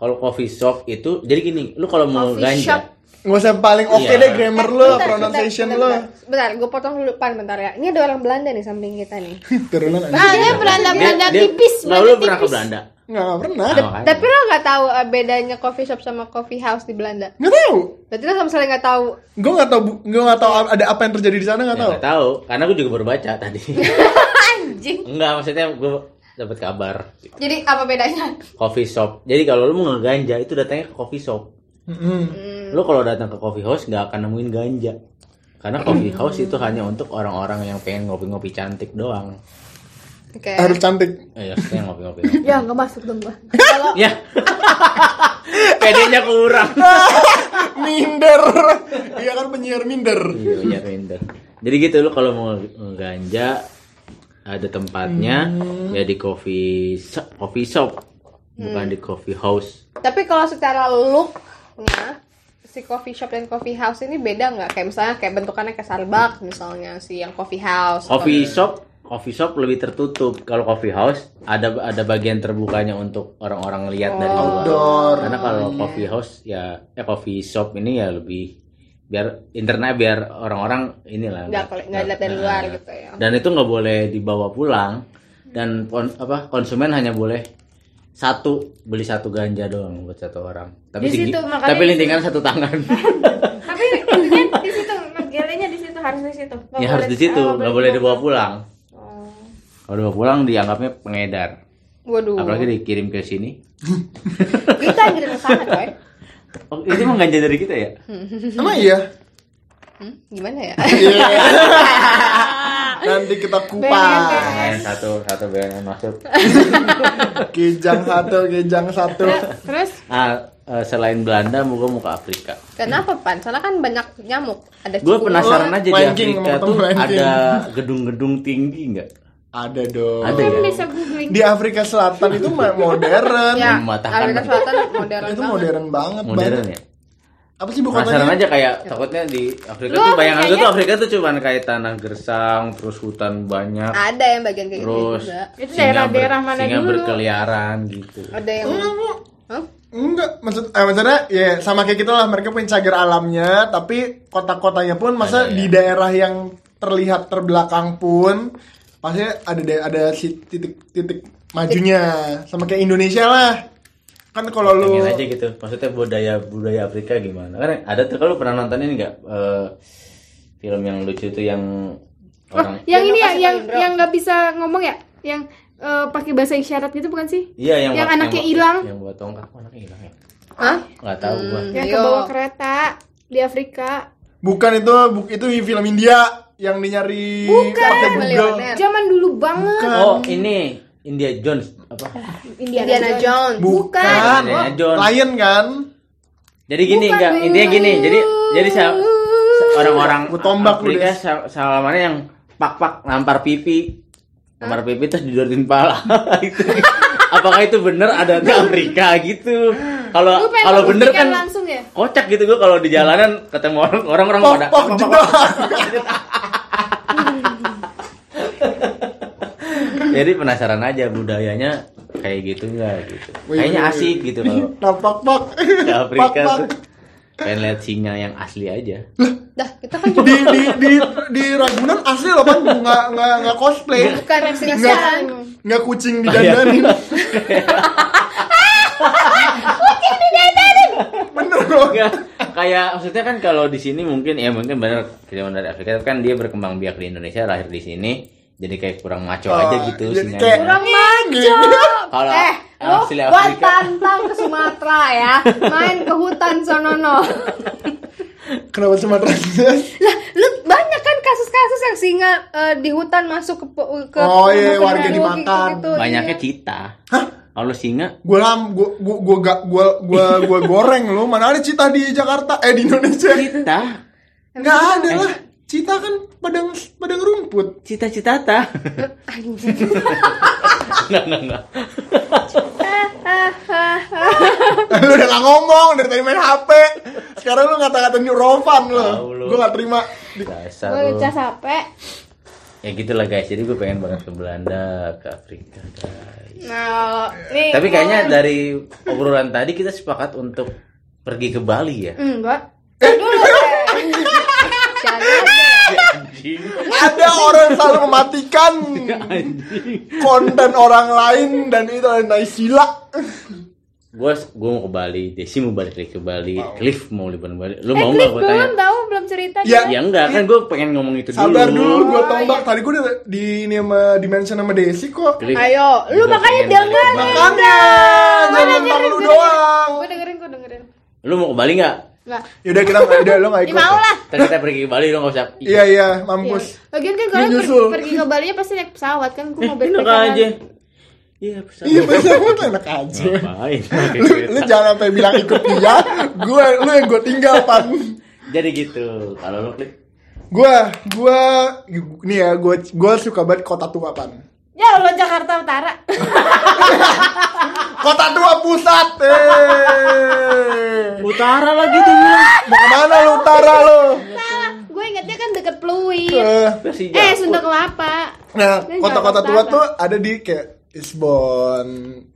Speaker 2: Kalau coffee shop itu jadi gini, lu kalau mau
Speaker 1: Coffee shop.
Speaker 2: ganja,
Speaker 3: Nggak usah paling oke
Speaker 2: Iya.
Speaker 3: deh grammar lo,
Speaker 4: Bentar,
Speaker 3: pronunciation
Speaker 4: bentar,
Speaker 3: lo.
Speaker 4: bentar, Bentar, bentar, gue potong dulu pan bentar ya. Ini ada orang Belanda nih samping kita nih.
Speaker 3: [LAUGHS]
Speaker 4: Iya.
Speaker 3: Turunan aja.
Speaker 1: Ah, ini Belanda-Belanda tipis,
Speaker 2: Nah,
Speaker 1: Belanda
Speaker 2: lu pernah ke
Speaker 1: tipis.
Speaker 2: Belanda?
Speaker 3: Nggak nggak pernah.
Speaker 2: Nah, makanya.
Speaker 4: Tapi lo nggak tahu eh, bedanya coffee shop sama coffee house di Belanda.
Speaker 3: Nggak tahu.
Speaker 4: Berarti lo sama sekali nggak tahu.
Speaker 3: Gue nggak tahu, bu- gue nggak tahu ada apa yang terjadi di sana
Speaker 2: Ya,
Speaker 3: nggak tahu.
Speaker 2: nggak tahu, karena gue juga baru baca
Speaker 1: [LAUGHS]
Speaker 2: tadi.
Speaker 4: Anjing.
Speaker 2: Enggak, maksudnya gue dapat kabar
Speaker 4: Jadi apa
Speaker 2: [LAUGHS]
Speaker 4: bedanya?
Speaker 2: coffee shop. Jadi kalau lu mau ngeganja itu datangnya ke coffee shop.
Speaker 3: Mm-mm.
Speaker 1: Iya.
Speaker 2: Lu kalau datang ke coffee house nggak akan nemuin ganja. Karena coffee house itu hanya untuk orang-orang yang pengen ngopi-ngopi cantik doang.
Speaker 4: Oke.
Speaker 3: Harus
Speaker 1: [LAUGHS]
Speaker 3: cantik.
Speaker 2: Eh, ya, maksudnya ngopi-ngopi.
Speaker 1: Ya nggak masuk dong gua.
Speaker 4: Kalau
Speaker 2: Ya. [LAUGHS] PD-nya kurang.
Speaker 3: Minder. Dia kan penyiar minder.
Speaker 2: Iya, minder. Jadi gitu lu kalau mau ganja ada tempatnya ya di coffee shop, coffee shop bukan di coffee house.
Speaker 4: tapi kalau secara looknya si coffee shop dan coffee house ini beda nggak? Kayak misalnya kayak bentukannya kayak Starbucks misalnya si yang coffee house.
Speaker 2: Coffee shop coffee shop lebih tertutup. Kalau coffee house ada ada bagian terbukanya untuk orang-orang lihat dari luar.
Speaker 3: Oh, Outdoor.
Speaker 2: Karena kalau coffee house ya eh coffee shop ini ya lebih biar internet biar orang-orang inilah
Speaker 4: Nggak kalau- nggak lihat dari
Speaker 2: nah,
Speaker 4: luar gitu ya.
Speaker 2: dan itu nggak boleh dibawa pulang dan kon- apa konsumen hanya boleh satu beli satu ganja doang buat satu orang tapi
Speaker 1: Di
Speaker 2: tinggi-
Speaker 1: situ, makanya
Speaker 2: tapi
Speaker 1: di
Speaker 2: lintingan satu tangan
Speaker 1: Tapi kan di situ gelenya di situ harus di situ. Nggak
Speaker 2: ya harus
Speaker 1: boleh-
Speaker 2: di situ
Speaker 1: ah,
Speaker 2: nggak boleh dibawa pulang kalau dibawa pulang dianggapnya pengedar
Speaker 4: Waduh.
Speaker 2: apalagi dikirim ke sini
Speaker 4: Kita
Speaker 2: [LAUGHS]
Speaker 4: yang ngirim ke sana coy.
Speaker 2: oh, itu mah ganja dari kita ya
Speaker 3: Emang iya?
Speaker 4: Hmm, gimana ya?
Speaker 3: Iya. Nanti kita kupas.
Speaker 2: Main Nah, satu satu BNN masuk
Speaker 3: Kijang satu, kijang satu.
Speaker 1: Terus
Speaker 2: ah eh, selain Belanda mau gue mau ke Afrika
Speaker 4: Kenapa pan? Soalnya kan banyak nyamuk. Ada
Speaker 2: gue
Speaker 4: cikungunya.
Speaker 2: penasaran aja di
Speaker 3: Wanking,
Speaker 2: Afrika
Speaker 3: mau ketemu
Speaker 2: tuh
Speaker 3: wanking.
Speaker 2: ada gedung-gedung tinggi nggak
Speaker 3: Ada dong.
Speaker 2: ada
Speaker 1: kan
Speaker 2: ya
Speaker 1: bisa googling.
Speaker 3: Di Afrika Selatan itu ma- modern.
Speaker 4: Ya,
Speaker 2: mematahkan.
Speaker 4: Afrika Selatan
Speaker 2: [LAUGHS]
Speaker 4: modern
Speaker 3: itu
Speaker 4: banget.
Speaker 3: modern banget,
Speaker 2: modern
Speaker 3: Bang.
Speaker 2: ya
Speaker 3: Apa sih bukan
Speaker 2: Penasaran aja kayak takutnya di Afrika
Speaker 1: Lu
Speaker 2: tuh bayangan gue
Speaker 1: Afrikanya-
Speaker 2: tuh Afrika tuh cuman kayak tanah gersang, terus hutan banyak,
Speaker 4: Ada yang bagian kayak gitu
Speaker 2: terus
Speaker 4: juga.
Speaker 1: Itu
Speaker 2: singa
Speaker 1: daerah-daerah mana
Speaker 2: singa
Speaker 1: dulu?
Speaker 2: berkeliaran gitu.
Speaker 4: Ada yang Hah?
Speaker 3: Enggak, maksud eh, maksudnya ya sama kayak kita lah mereka punya cagar alamnya, tapi kota-kotanya pun masa
Speaker 2: Ada, ya.
Speaker 3: di daerah yang terlihat terbelakang pun pasti ada da- ada si titik-titik majunya sama kayak Indonesia lah. kan kalau lu
Speaker 2: pengen aja gitu maksudnya budaya budaya Afrika gimana kan ada tuh kalau pernah nonton ini nggak eh, film yang lucu tuh yang orang
Speaker 1: yang ini ya
Speaker 4: kasih
Speaker 1: yang
Speaker 4: tahu, Bro.
Speaker 1: yang nggak bisa ngomong ya yang eh, pakai bahasa isyarat gitu bukan sih
Speaker 2: iya yang,
Speaker 1: yang
Speaker 2: buat-
Speaker 1: anaknya
Speaker 2: buat-
Speaker 1: hilang.
Speaker 2: yang buat tongkat Kok anaknya hilang ya
Speaker 4: Hah?
Speaker 2: nggak tahu gua
Speaker 1: yang ke
Speaker 4: Yo.
Speaker 1: bawah kereta di Afrika
Speaker 3: bukan itu bu- itu film India yang dinyari
Speaker 1: Bukan.
Speaker 3: pakai Google
Speaker 4: Milioner.
Speaker 1: zaman dulu banget
Speaker 2: oh ini India Jones apa
Speaker 1: Indiana,
Speaker 4: Indiana Jones.
Speaker 3: bukan,
Speaker 2: Bukan. John.
Speaker 3: Lion kan
Speaker 2: jadi gini enggak intinya gini jadi jadi sa- sa- orang-orang
Speaker 3: Gua tombak lu,
Speaker 2: Afrika
Speaker 3: Des.
Speaker 2: sa- salamannya yang pak-pak nampar pipi nampar pipi terus didodotin pala [LAUGHS] itu apakah itu bener ada di Afrika gitu kalau
Speaker 1: Lu pengen
Speaker 2: kalau bener
Speaker 1: membuktikan
Speaker 2: kan
Speaker 1: langsung ya
Speaker 2: kocak gitu gua kalau di jalanan ketemu orang orang orang
Speaker 3: pok
Speaker 2: pada
Speaker 3: pok jedak
Speaker 2: jadi penasaran aja budayanya kayak gitu nggak gitu
Speaker 3: Wih,
Speaker 2: kayaknya
Speaker 3: wih,
Speaker 2: asik gitu kalau
Speaker 3: nah pok pok
Speaker 2: ke
Speaker 3: [LAUGHS] pok
Speaker 2: Afrika
Speaker 3: pok
Speaker 2: tuh pengen lihat singa yang asli aja
Speaker 4: Dah, kita kan
Speaker 3: di di di di Ragunan asli loh kan nggak nggak nggak cosplay
Speaker 4: bukan singa
Speaker 3: Nggak-
Speaker 4: siaran.
Speaker 3: nggak kucing didandanin [LAUGHS] bener loh
Speaker 2: Enggak, kayak maksudnya kan kalau di sini mungkin ya mungkin benar kiriman dari Afrika tapi kan dia berkembang biak di Indonesia lahir di sini jadi kayak kurang maco aja gitu
Speaker 3: Oh, jadi
Speaker 2: singanya.
Speaker 3: kayak
Speaker 4: Kurang
Speaker 2: Kalau
Speaker 4: eh, lu
Speaker 2: asli
Speaker 4: buat
Speaker 2: Afrika
Speaker 4: tantang ke Sumatera ya, main ke hutan sonono.
Speaker 3: kenapa cuma transjes
Speaker 4: lah, lu banyak kan kasus-kasus yang singa eh, di hutan masuk ke ke
Speaker 3: Oh, iya,
Speaker 4: ke-
Speaker 3: warga
Speaker 4: ke-
Speaker 3: dimakan.
Speaker 4: gitu-gitu,
Speaker 2: banyaknya
Speaker 4: iya.
Speaker 2: cita. Kalau singa
Speaker 3: gue lam gue gue gue gue gue gue goreng lu mana ada cita di Jakarta eh di Indonesia
Speaker 2: cita
Speaker 3: nggak ada lah cita kan padang padang rumput
Speaker 2: cita-cita ta. [LAUGHS] Enggak enggak enggak.
Speaker 3: [LAUGHS] lu udah gak ngomong dari tadi main HP sekarang lu ngata-ngata New Rovan lu
Speaker 2: Tahu lu.
Speaker 3: gue gak terima
Speaker 2: Dasar
Speaker 1: Gua
Speaker 2: lu.
Speaker 1: ngecas HP
Speaker 2: Ya gitulah guys. Jadi gue pengen banget ke Belanda, ke Afrika guys.
Speaker 4: Nah,
Speaker 1: Iya,
Speaker 4: nih.
Speaker 2: Tapi kayaknya dari obrolan tadi kita sepakat untuk pergi ke Bali ya.
Speaker 1: enggak
Speaker 4: Jangan.
Speaker 2: Anjing.
Speaker 3: ada orang yang selalu mematikan
Speaker 1: Mm.
Speaker 2: Anjing.
Speaker 3: konten orang lain dan itu ada Naisila
Speaker 2: gue gue mau ke Bali, Desi mau balik lagi ke Bali, Cliff mau liburan Bali. Lu
Speaker 1: eh
Speaker 2: mau nggak
Speaker 1: klik
Speaker 2: gue tanya?
Speaker 1: belum tahu belum cerita
Speaker 3: Ya,
Speaker 1: dia.
Speaker 2: Ya enggak, kan gue pengen ngomong itu
Speaker 3: sabar dulu
Speaker 2: dulu.
Speaker 3: gue tombak tadi gue di ini sama dimension sama Desi kok Kan
Speaker 2: Cliff,
Speaker 4: Ayo, lu
Speaker 2: gua
Speaker 4: makanya
Speaker 2: pengen balik ke
Speaker 4: dengerin.
Speaker 2: Bali.
Speaker 3: makanya jangan
Speaker 1: dengerin,
Speaker 3: tang ya, lu
Speaker 1: dengerin.
Speaker 3: doang
Speaker 1: Gua dengerin gua dengerin
Speaker 2: Lu mau ke Bali nggak?
Speaker 1: enggak
Speaker 3: yaudah kita nggak udah lo nggak
Speaker 1: Ih,
Speaker 3: ikut
Speaker 1: mau lah
Speaker 2: Ntar kita pergi ke Bali, lu nggak usah.
Speaker 3: iya iya mampus
Speaker 1: Iya. Lagian kan kalian per-
Speaker 3: nyusul. Eh,
Speaker 1: pergi ke Bali pasti naik pesawat kan gua mau
Speaker 2: Enak
Speaker 1: backpackeran.
Speaker 2: aja. Iya, pesan.
Speaker 3: iya bener bener enak aja
Speaker 2: Ngapain? Pakai
Speaker 3: [LAUGHS] lu, lu
Speaker 2: kereta.
Speaker 3: jangan sampai bilang ikut dia gue lu yang gue tinggal pan
Speaker 2: Jadi gitu. Kalau lu Cliff,
Speaker 3: gua gua nih ya gua gua suka banget kota tua pan
Speaker 1: Ya Allah Jakarta Utara.
Speaker 3: kota tua pusat eh
Speaker 2: utara lagi tuh bilang.
Speaker 3: mau kemana lu utara lu
Speaker 1: [LAUGHS] Salah, gue ingetnya kan deket Pluit.
Speaker 3: Eh,
Speaker 2: Persija.
Speaker 1: Eh, Sunda Kelapa.
Speaker 3: nah
Speaker 1: Ini
Speaker 3: kota-kota
Speaker 1: Jakarta
Speaker 3: tua
Speaker 1: apa?
Speaker 3: tuh ada di kayak Lisbon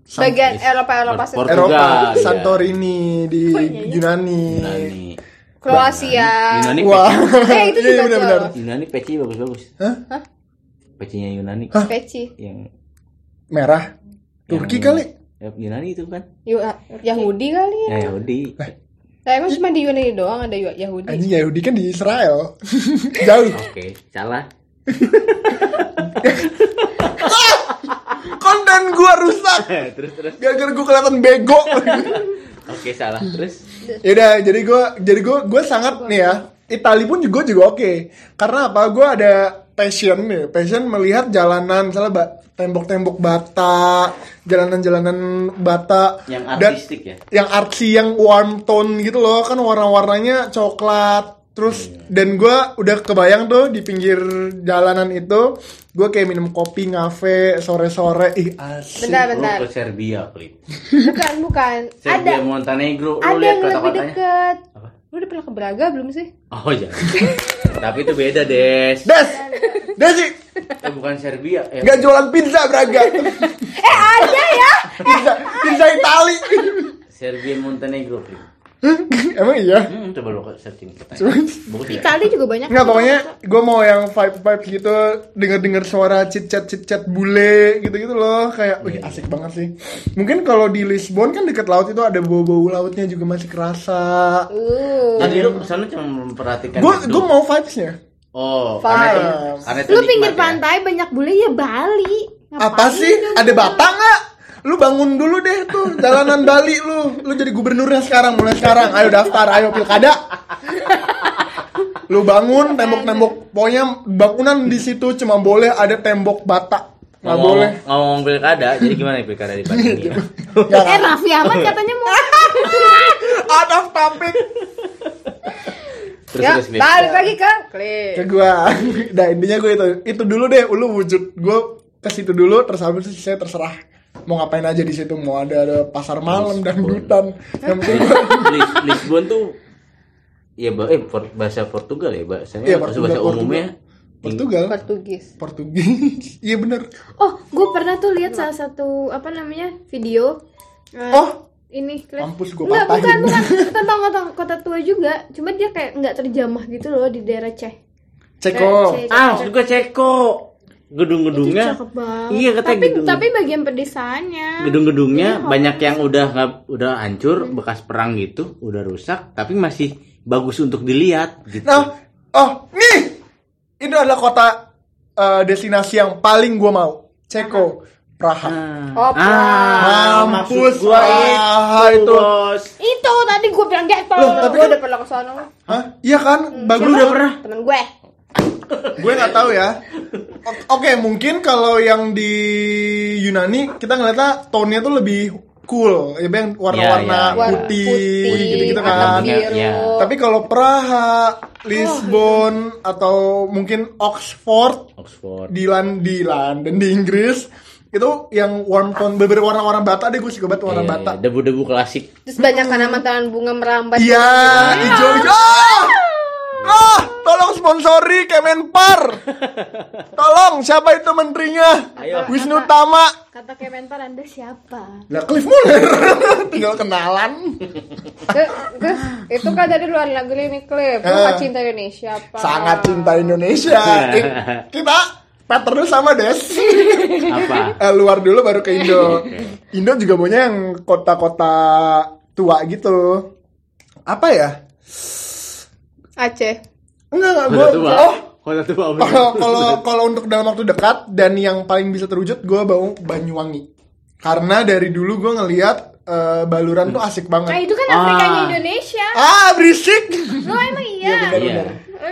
Speaker 3: San-
Speaker 4: Bagian Eropa-Eropa
Speaker 2: Portugal,
Speaker 3: Eropa
Speaker 2: iya.
Speaker 3: Santorini di
Speaker 4: iya,
Speaker 3: Yunani
Speaker 2: Yunani.
Speaker 4: Kroasia.
Speaker 2: Yunani.
Speaker 3: wah
Speaker 4: Eh,
Speaker 3: Iya,
Speaker 4: itu
Speaker 3: iya,
Speaker 4: juga
Speaker 3: benar-benar.
Speaker 4: Jawa.
Speaker 2: Yunani peci bagus-bagus.
Speaker 3: Hah?
Speaker 2: Pecinya Yunani.
Speaker 4: Peci.
Speaker 2: Yang
Speaker 3: merah Turki
Speaker 2: yang-
Speaker 3: kali
Speaker 2: Ya, Yunani itu kan.
Speaker 4: Yu- ah, Yahudi kali ya.
Speaker 2: Ya Yahudi.
Speaker 3: Eh.
Speaker 4: Lah emang cuma di Yunani doang ada Yu- Yahudi.
Speaker 3: anjing Yahudi kan di Israel [LAUGHS] jauh
Speaker 2: Oke, salah.
Speaker 3: konten gua rusak
Speaker 2: terus terus.
Speaker 3: gara-gara gua kelihatan bego
Speaker 2: Oke, salah. Terus
Speaker 3: Yaudah, jadi gue jadi gue gue sangat nih ya Itali pun juga juga oke karena apa gue ada passion nih passion melihat jalanan misalnya ba- tembok-tembok bata jalanan-jalanan bata
Speaker 2: yang
Speaker 3: dan
Speaker 2: artistik ya.
Speaker 3: yang artsy yang warm tone gitu loh kan warna-warnanya coklat terus
Speaker 2: Iya.
Speaker 3: dan gue udah kebayang tuh di pinggir jalanan itu gue kayak minum kopi ngafe sore-sore ih asik
Speaker 4: Bentar,
Speaker 2: [LAUGHS] Lu
Speaker 4: bentar.
Speaker 2: ke Serbia, Klip.
Speaker 4: Bukan, bukan.
Speaker 2: Serbia,
Speaker 4: Ada
Speaker 2: Montenegro, lu
Speaker 4: ada
Speaker 2: lihat
Speaker 4: yang lebih
Speaker 2: kota-kotanya.
Speaker 4: dekat.
Speaker 2: Apa?
Speaker 4: Lu udah pernah ke Braga belum sih?
Speaker 2: Oh
Speaker 4: [LAUGHS]
Speaker 2: iya. Tapi itu beda, Des.
Speaker 3: des desi
Speaker 2: Eh, bukan Serbia. Eh,
Speaker 3: nggak jualan pizza beraga
Speaker 4: Eh, ada ya.
Speaker 3: pizza, pizza Itali
Speaker 2: Serbia, Montenegro, Klip.
Speaker 3: Emang iya?
Speaker 2: Hmm, coba lu ke searching kita.
Speaker 3: Cuman-
Speaker 2: Bagus
Speaker 1: Di
Speaker 2: ya?
Speaker 1: Itali juga banyak.
Speaker 3: Nggak pokoknya gue mau yang vibe vibe gitu denger denger suara chit chat chit chat bule gitu gitu loh kayak wih asik banget sih mungkin kalau di Lisbon kan deket laut itu ada bau bau lautnya juga masih kerasa
Speaker 4: Uh.
Speaker 2: Jadi lu kesana cuma memperhatikan
Speaker 3: gue
Speaker 2: itu.
Speaker 3: gue mau vibesnya
Speaker 2: Oh,
Speaker 4: Fine.
Speaker 2: karena itu, karena itu
Speaker 1: Lu
Speaker 2: nikmat
Speaker 1: pinggir
Speaker 2: ya.
Speaker 1: pantai banyak bule ya Bali.
Speaker 3: apa sih ada bapak nggak lu bangun dulu deh tuh jalanan Bali lu lu jadi gubernurnya sekarang mulai sekarang ayo daftar ayo pilkada lu bangun tembok tembok pokoknya bangunan di situ cuma boleh ada tembok bata nggak
Speaker 2: Ngomong-
Speaker 3: boleh
Speaker 2: Ngomong pilkada, jadi gimana nih pilkada di Bandung?
Speaker 4: [LAUGHS]
Speaker 2: ini?
Speaker 3: Ya,
Speaker 1: Eh Raffi
Speaker 3: [LAUGHS]
Speaker 1: Ahmad katanya mau
Speaker 3: out of topic
Speaker 2: Terus
Speaker 4: ya,
Speaker 2: terus Bib.
Speaker 4: balik lagi ke klik.
Speaker 3: ke gua [LAUGHS] nah intinya gue itu itu dulu deh lu wujud gue ke situ dulu terus habis itu saya terserah mau ngapain aja di situ mau ada, ada pasar malam dan hutan yang penting gua
Speaker 2: Lis- Lisbon tuh ya ba- eh, por- bahasa Portugal ya bahasanya
Speaker 3: Iya,
Speaker 2: bahasa,
Speaker 3: Portugal,
Speaker 2: bahasa
Speaker 3: Portugal.
Speaker 2: umumnya
Speaker 3: Portugal
Speaker 4: Portugis.
Speaker 3: Portugis iya bener
Speaker 1: Oh, gue pernah tuh lihat salah satu apa namanya video. Eh,
Speaker 3: oh
Speaker 1: ini klik.
Speaker 3: Mampus, gua
Speaker 1: Nggak,
Speaker 3: patahin.
Speaker 1: bukan
Speaker 3: [LAUGHS]
Speaker 1: bukan tentang kota, kota tua juga. Cuma dia kayak nggak terjemah gitu loh di daerah Ceh.
Speaker 3: Ceko
Speaker 1: Ceko.
Speaker 2: ah maksud gue Ceko
Speaker 1: Itu
Speaker 2: gedung-gedungnya
Speaker 1: cakep banget.
Speaker 2: iya katanya
Speaker 1: tapi
Speaker 2: gedung
Speaker 1: tapi Iya, bagian pedesaannya.
Speaker 2: gedung-gedungnya banyak yang udah nggak- udah hancur bekas perang gitu udah rusak tapi masih bagus untuk dilihat gitu
Speaker 3: nah oh nih ini adalah kota eh, destinasi yang paling gua mau Ceko Praha
Speaker 4: Oh,
Speaker 2: ah, ah, maksud
Speaker 3: mampus
Speaker 2: gua
Speaker 3: Praha
Speaker 2: itu,
Speaker 3: itu
Speaker 2: bos
Speaker 1: Itu tadi gue bilang Jepang.
Speaker 3: Loh,
Speaker 4: Tapi
Speaker 3: tapi
Speaker 4: gue
Speaker 3: kan-
Speaker 4: udah pernah ke sana loh.
Speaker 3: Hah? iya kan bagus
Speaker 2: lu udah
Speaker 3: kan?
Speaker 2: pernah
Speaker 4: Temen gue.
Speaker 3: gue nggak tahu ya O- oke mungkin kalau yang di Yunani kita ngeliatnya tone-nya tuh lebih cool ya yang
Speaker 2: Ya,
Speaker 3: warna-warna
Speaker 4: iya.
Speaker 2: ya, ya.
Speaker 3: putih,
Speaker 4: Putih, Iya.
Speaker 3: gitu-gitu
Speaker 4: atau
Speaker 3: kan
Speaker 2: biru. Ya.
Speaker 3: tapi kalau Praha Lisbon atau mungkin Oxford
Speaker 2: Oxford
Speaker 3: di Lan di London di Inggris itu yang warm tone beberapa warna-warna bata deh gue suka banget warna
Speaker 2: Iya,
Speaker 3: bata
Speaker 2: iya, debu-debu
Speaker 3: [LAUGHS]
Speaker 2: klasik
Speaker 4: Terus banyak tanaman-tanaman bunga merambat.
Speaker 3: iya hijau hijau ah! Ah, tolong sponsori
Speaker 2: [LAUGHS]
Speaker 3: Kemenpar. Tolong, siapa itu menterinya?
Speaker 2: Ayo.
Speaker 3: Wisnu Tama.
Speaker 1: Kata Kemenpar Anda siapa?
Speaker 3: Nah, Cliff Muller. [LAUGHS] Tinggal kenalan.
Speaker 4: Ke- ke- itu kan dari luar negeri nih klip. Lu
Speaker 3: Ah.
Speaker 4: gak cinta Indonesia apa?
Speaker 3: Sangat cinta Indonesia. Eh, kita patternnya sama, Des. [LAUGHS]
Speaker 2: apa
Speaker 3: Eh, luar dulu baru ke
Speaker 2: [LAUGHS]
Speaker 3: Indo. Indo juga maunya yang kota-kota tua gitu. Apa ya?
Speaker 4: Aceh.
Speaker 3: Enggak, enggak
Speaker 2: kota
Speaker 3: gua.
Speaker 2: tua iya.
Speaker 3: Oh,
Speaker 2: kota tua bener.
Speaker 3: kalau [LAUGHS] kalau kalau untuk dalam waktu dekat dan yang paling bisa terwujud gue bau Banyuwangi karena dari dulu gue ngelihat eh, baluran tuh asik
Speaker 1: Nah,
Speaker 3: banget
Speaker 1: itu kan
Speaker 2: Ah.
Speaker 1: Afrikanya Indonesia.
Speaker 3: ah berisik
Speaker 1: Lo emang iya.
Speaker 2: iya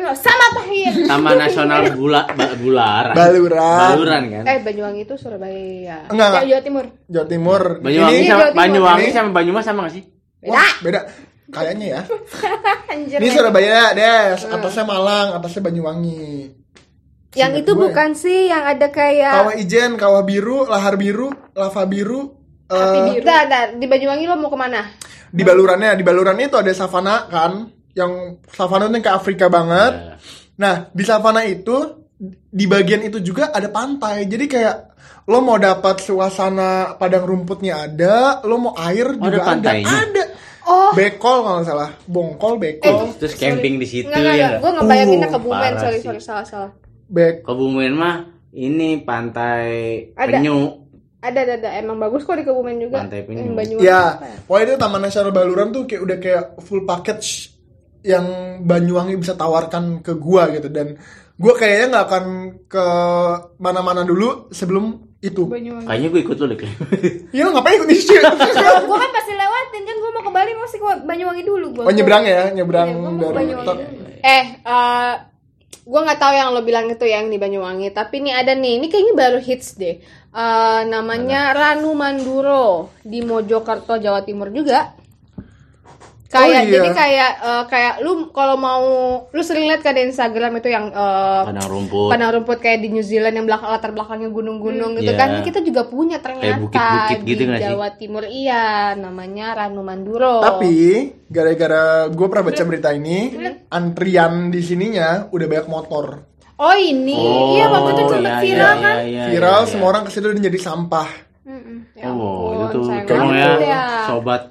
Speaker 1: Lo sama iya? Tahir.
Speaker 2: Taman Nasional Bula, Ba- Bularan.
Speaker 3: [LAUGHS] Baluran.
Speaker 2: Baluran kan?
Speaker 4: Eh, Banyuwangi itu Surabaya.
Speaker 3: enggak enggak
Speaker 1: Ya, Jawa Timur.
Speaker 3: Jawa Timur
Speaker 2: Banyuwangi
Speaker 3: ini
Speaker 2: sama
Speaker 4: Jawa Timur.
Speaker 2: Banyuwangi
Speaker 3: Ini-
Speaker 2: sama Banyumas sama gak sih?
Speaker 3: wah, beda kayaknya ya
Speaker 1: Anjir.
Speaker 3: ini Surabaya des atasnya Malang atasnya Banyuwangi
Speaker 4: Yang
Speaker 3: Seingat
Speaker 4: itu
Speaker 3: gue.
Speaker 4: bukan Kan sih yang ada
Speaker 3: Kawah
Speaker 4: kayak
Speaker 3: Ijen Kawah Biru Lahar Biru Lava Biru eh,
Speaker 1: biru.
Speaker 4: Enggak, enggak. Di Banyuwangi lo mau kemana?
Speaker 3: di balurannya di balurannya itu ada savana kan yang savana itu yang ke Afrika banget
Speaker 2: Iya.
Speaker 3: nah di savana itu di bagian itu juga ada pantai jadi kayak lo mau dapat suasana padang rumputnya ada lo mau
Speaker 2: Oh,
Speaker 3: air juga
Speaker 2: ada pantainya?
Speaker 3: ada ada
Speaker 4: Oh.
Speaker 3: bekol kalau nggak salah bongkol bekol
Speaker 2: Terus- Terus camping di situ
Speaker 4: Eh, Enggak, enggak,
Speaker 2: ya.
Speaker 4: enggak. Gue ngebayanginnya
Speaker 3: Uh,
Speaker 4: ke Bumen.
Speaker 2: parah
Speaker 4: Sorry,
Speaker 2: sih.
Speaker 4: sorry, salah, salah.
Speaker 3: bek
Speaker 2: Kebumen mah ini pantai
Speaker 4: Ada.
Speaker 2: penyu.
Speaker 4: Ada, ada, ada. Emang bagus kok di Kebumen juga.
Speaker 2: Pantai Pinang.
Speaker 4: Yang Banyuwangi.
Speaker 3: ya pokoknya itu taman nasional baluran tuh kayak udah kayak full package yang Banyuwangi bisa tawarkan ke gua gitu dan gua kayaknya nggak akan ke mana-mana dulu sebelum itu
Speaker 4: Hmm.
Speaker 1: Banyuwangi.
Speaker 2: Kayaknya gue ikut lu
Speaker 4: [LAUGHS]
Speaker 2: deh.
Speaker 3: Iya lo ngapain ikut isu?
Speaker 1: [LAUGHS] gue kan pasti lewatin kan gue mau ke Bali mesti ke Banyuwangi dulu gue.
Speaker 3: Oh nyebrang ya, nyebrang
Speaker 1: Iya, gua mau
Speaker 3: dari
Speaker 1: Banyuwangi.
Speaker 3: Tot-
Speaker 4: Eh, eh gue nggak tahu yang lo bilang itu yang di Banyuwangi, tapi ini ada nih, ini kayaknya baru hits deh. Eh, namanya Ranu Manduro di Mojokerto, Jawa Timur juga.
Speaker 3: Oh,
Speaker 4: Kayak
Speaker 3: iya.
Speaker 4: jadi kayak eh, kayak lu kalau mau lu sering lihat kan di Instagram itu yang eh,
Speaker 2: Padang rumput.
Speaker 4: padang rumput kayak di New Zealand yang belakang latar belakangnya gunung-gunung gitu
Speaker 2: Iya.
Speaker 4: kan Ini kita juga punya ternyata
Speaker 2: bukit-bukit gitu
Speaker 4: di
Speaker 2: nggak sih?
Speaker 4: Jawa Timur iya namanya Ranu Manduro
Speaker 3: Tapi gara-gara gue pernah baca berita ini,
Speaker 1: Iya.
Speaker 3: antrian di sininya udah banyak motor.
Speaker 1: Oh ini, iya waktu itu sempat
Speaker 2: Iya,
Speaker 1: viral kan.
Speaker 3: Viral semua orang ke situ dan jadi sampah.
Speaker 1: Mm-mm.
Speaker 4: Ya
Speaker 2: Oh,
Speaker 4: ampun,
Speaker 2: itu tuh
Speaker 4: sayang
Speaker 2: tolong
Speaker 4: banget
Speaker 2: ya
Speaker 4: ya.
Speaker 2: sobat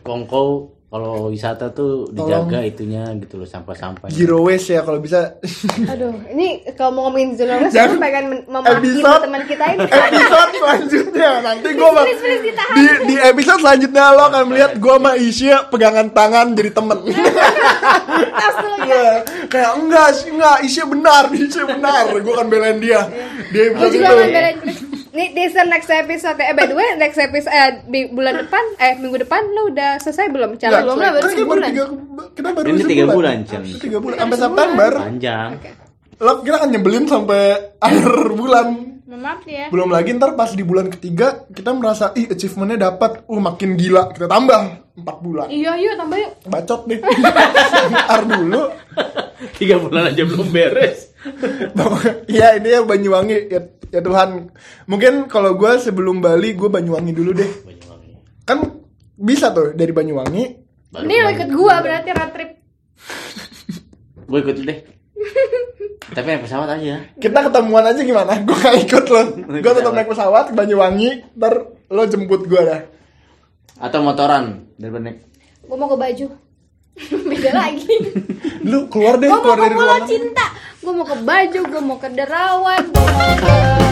Speaker 2: Kongko kalau wisata tuh dijaga itunya gitu loh sampah-sampah.
Speaker 3: Zero waste ya kalau bisa. [LAUGHS]
Speaker 4: Aduh, ini kalau mau ngomongin zero waste,
Speaker 3: Jangan.
Speaker 4: aku pengen men- memaki
Speaker 3: Episode.
Speaker 4: teman kita ini.
Speaker 3: [LAUGHS] episode selanjutnya nanti gue bak
Speaker 4: please, please, ditahan.
Speaker 3: di, di episode selanjutnya lo akan melihat gue sama Isya pegangan tangan jadi
Speaker 4: [LAUGHS]
Speaker 3: temen. Iya. Kayak enggak sih enggak Isya benar Isya benar gue akan belain dia di
Speaker 4: Gue
Speaker 3: episode
Speaker 4: juga
Speaker 3: itu.
Speaker 4: akan belain Chris. Nih, this is next episode. Eh, by the way, next episode eh, di bulan depan, eh minggu depan lo udah selesai belum?
Speaker 3: Enggak,
Speaker 4: Challenge
Speaker 1: lah, baru
Speaker 3: kan kita
Speaker 1: sebulan.
Speaker 3: tiga, kita baru
Speaker 2: Ini tiga bulan, Cen.
Speaker 3: Ini tiga bulan sampai September
Speaker 2: Panjang.
Speaker 3: lo kita akan nyebelin sampai [LAUGHS] akhir bulan
Speaker 1: maaf ya
Speaker 3: belum lagi ntar pas di bulan ketiga kita merasa ih achievementnya dapat uh makin gila kita tambah empat bulan
Speaker 1: iya yuk tambah yuk
Speaker 3: bacot deh [LAUGHS] ar dulu
Speaker 2: [LAUGHS] Tiga bulan aja belum beres.
Speaker 3: Bapak- ya ini ya Banyuwangi ya, ya Tuhan mungkin kalau gue sebelum Bali gue Banyuwangi dulu deh kan bisa tuh dari Banyuwangi
Speaker 2: Baru
Speaker 1: ini lo ikut gua berarti road trip
Speaker 2: Gue ikut
Speaker 4: [LAUGHS]
Speaker 2: deh. Tapi naik pesawat aja.
Speaker 3: kita ketemuan aja gimana gue gak ikut lo gue tetap naik pesawat ke Banyuwangi ntar lo jemput gue dah
Speaker 2: Atau motoran daripada naik.
Speaker 1: gua mau ke baju [LAUGHS] beda lagi
Speaker 3: lu keluar deh
Speaker 1: gua mau
Speaker 3: [LAUGHS] keluar
Speaker 1: ke
Speaker 3: dari
Speaker 1: pulau
Speaker 3: ruangan
Speaker 1: cinta gua mau ke baju gua mau ke derawan gua mau ke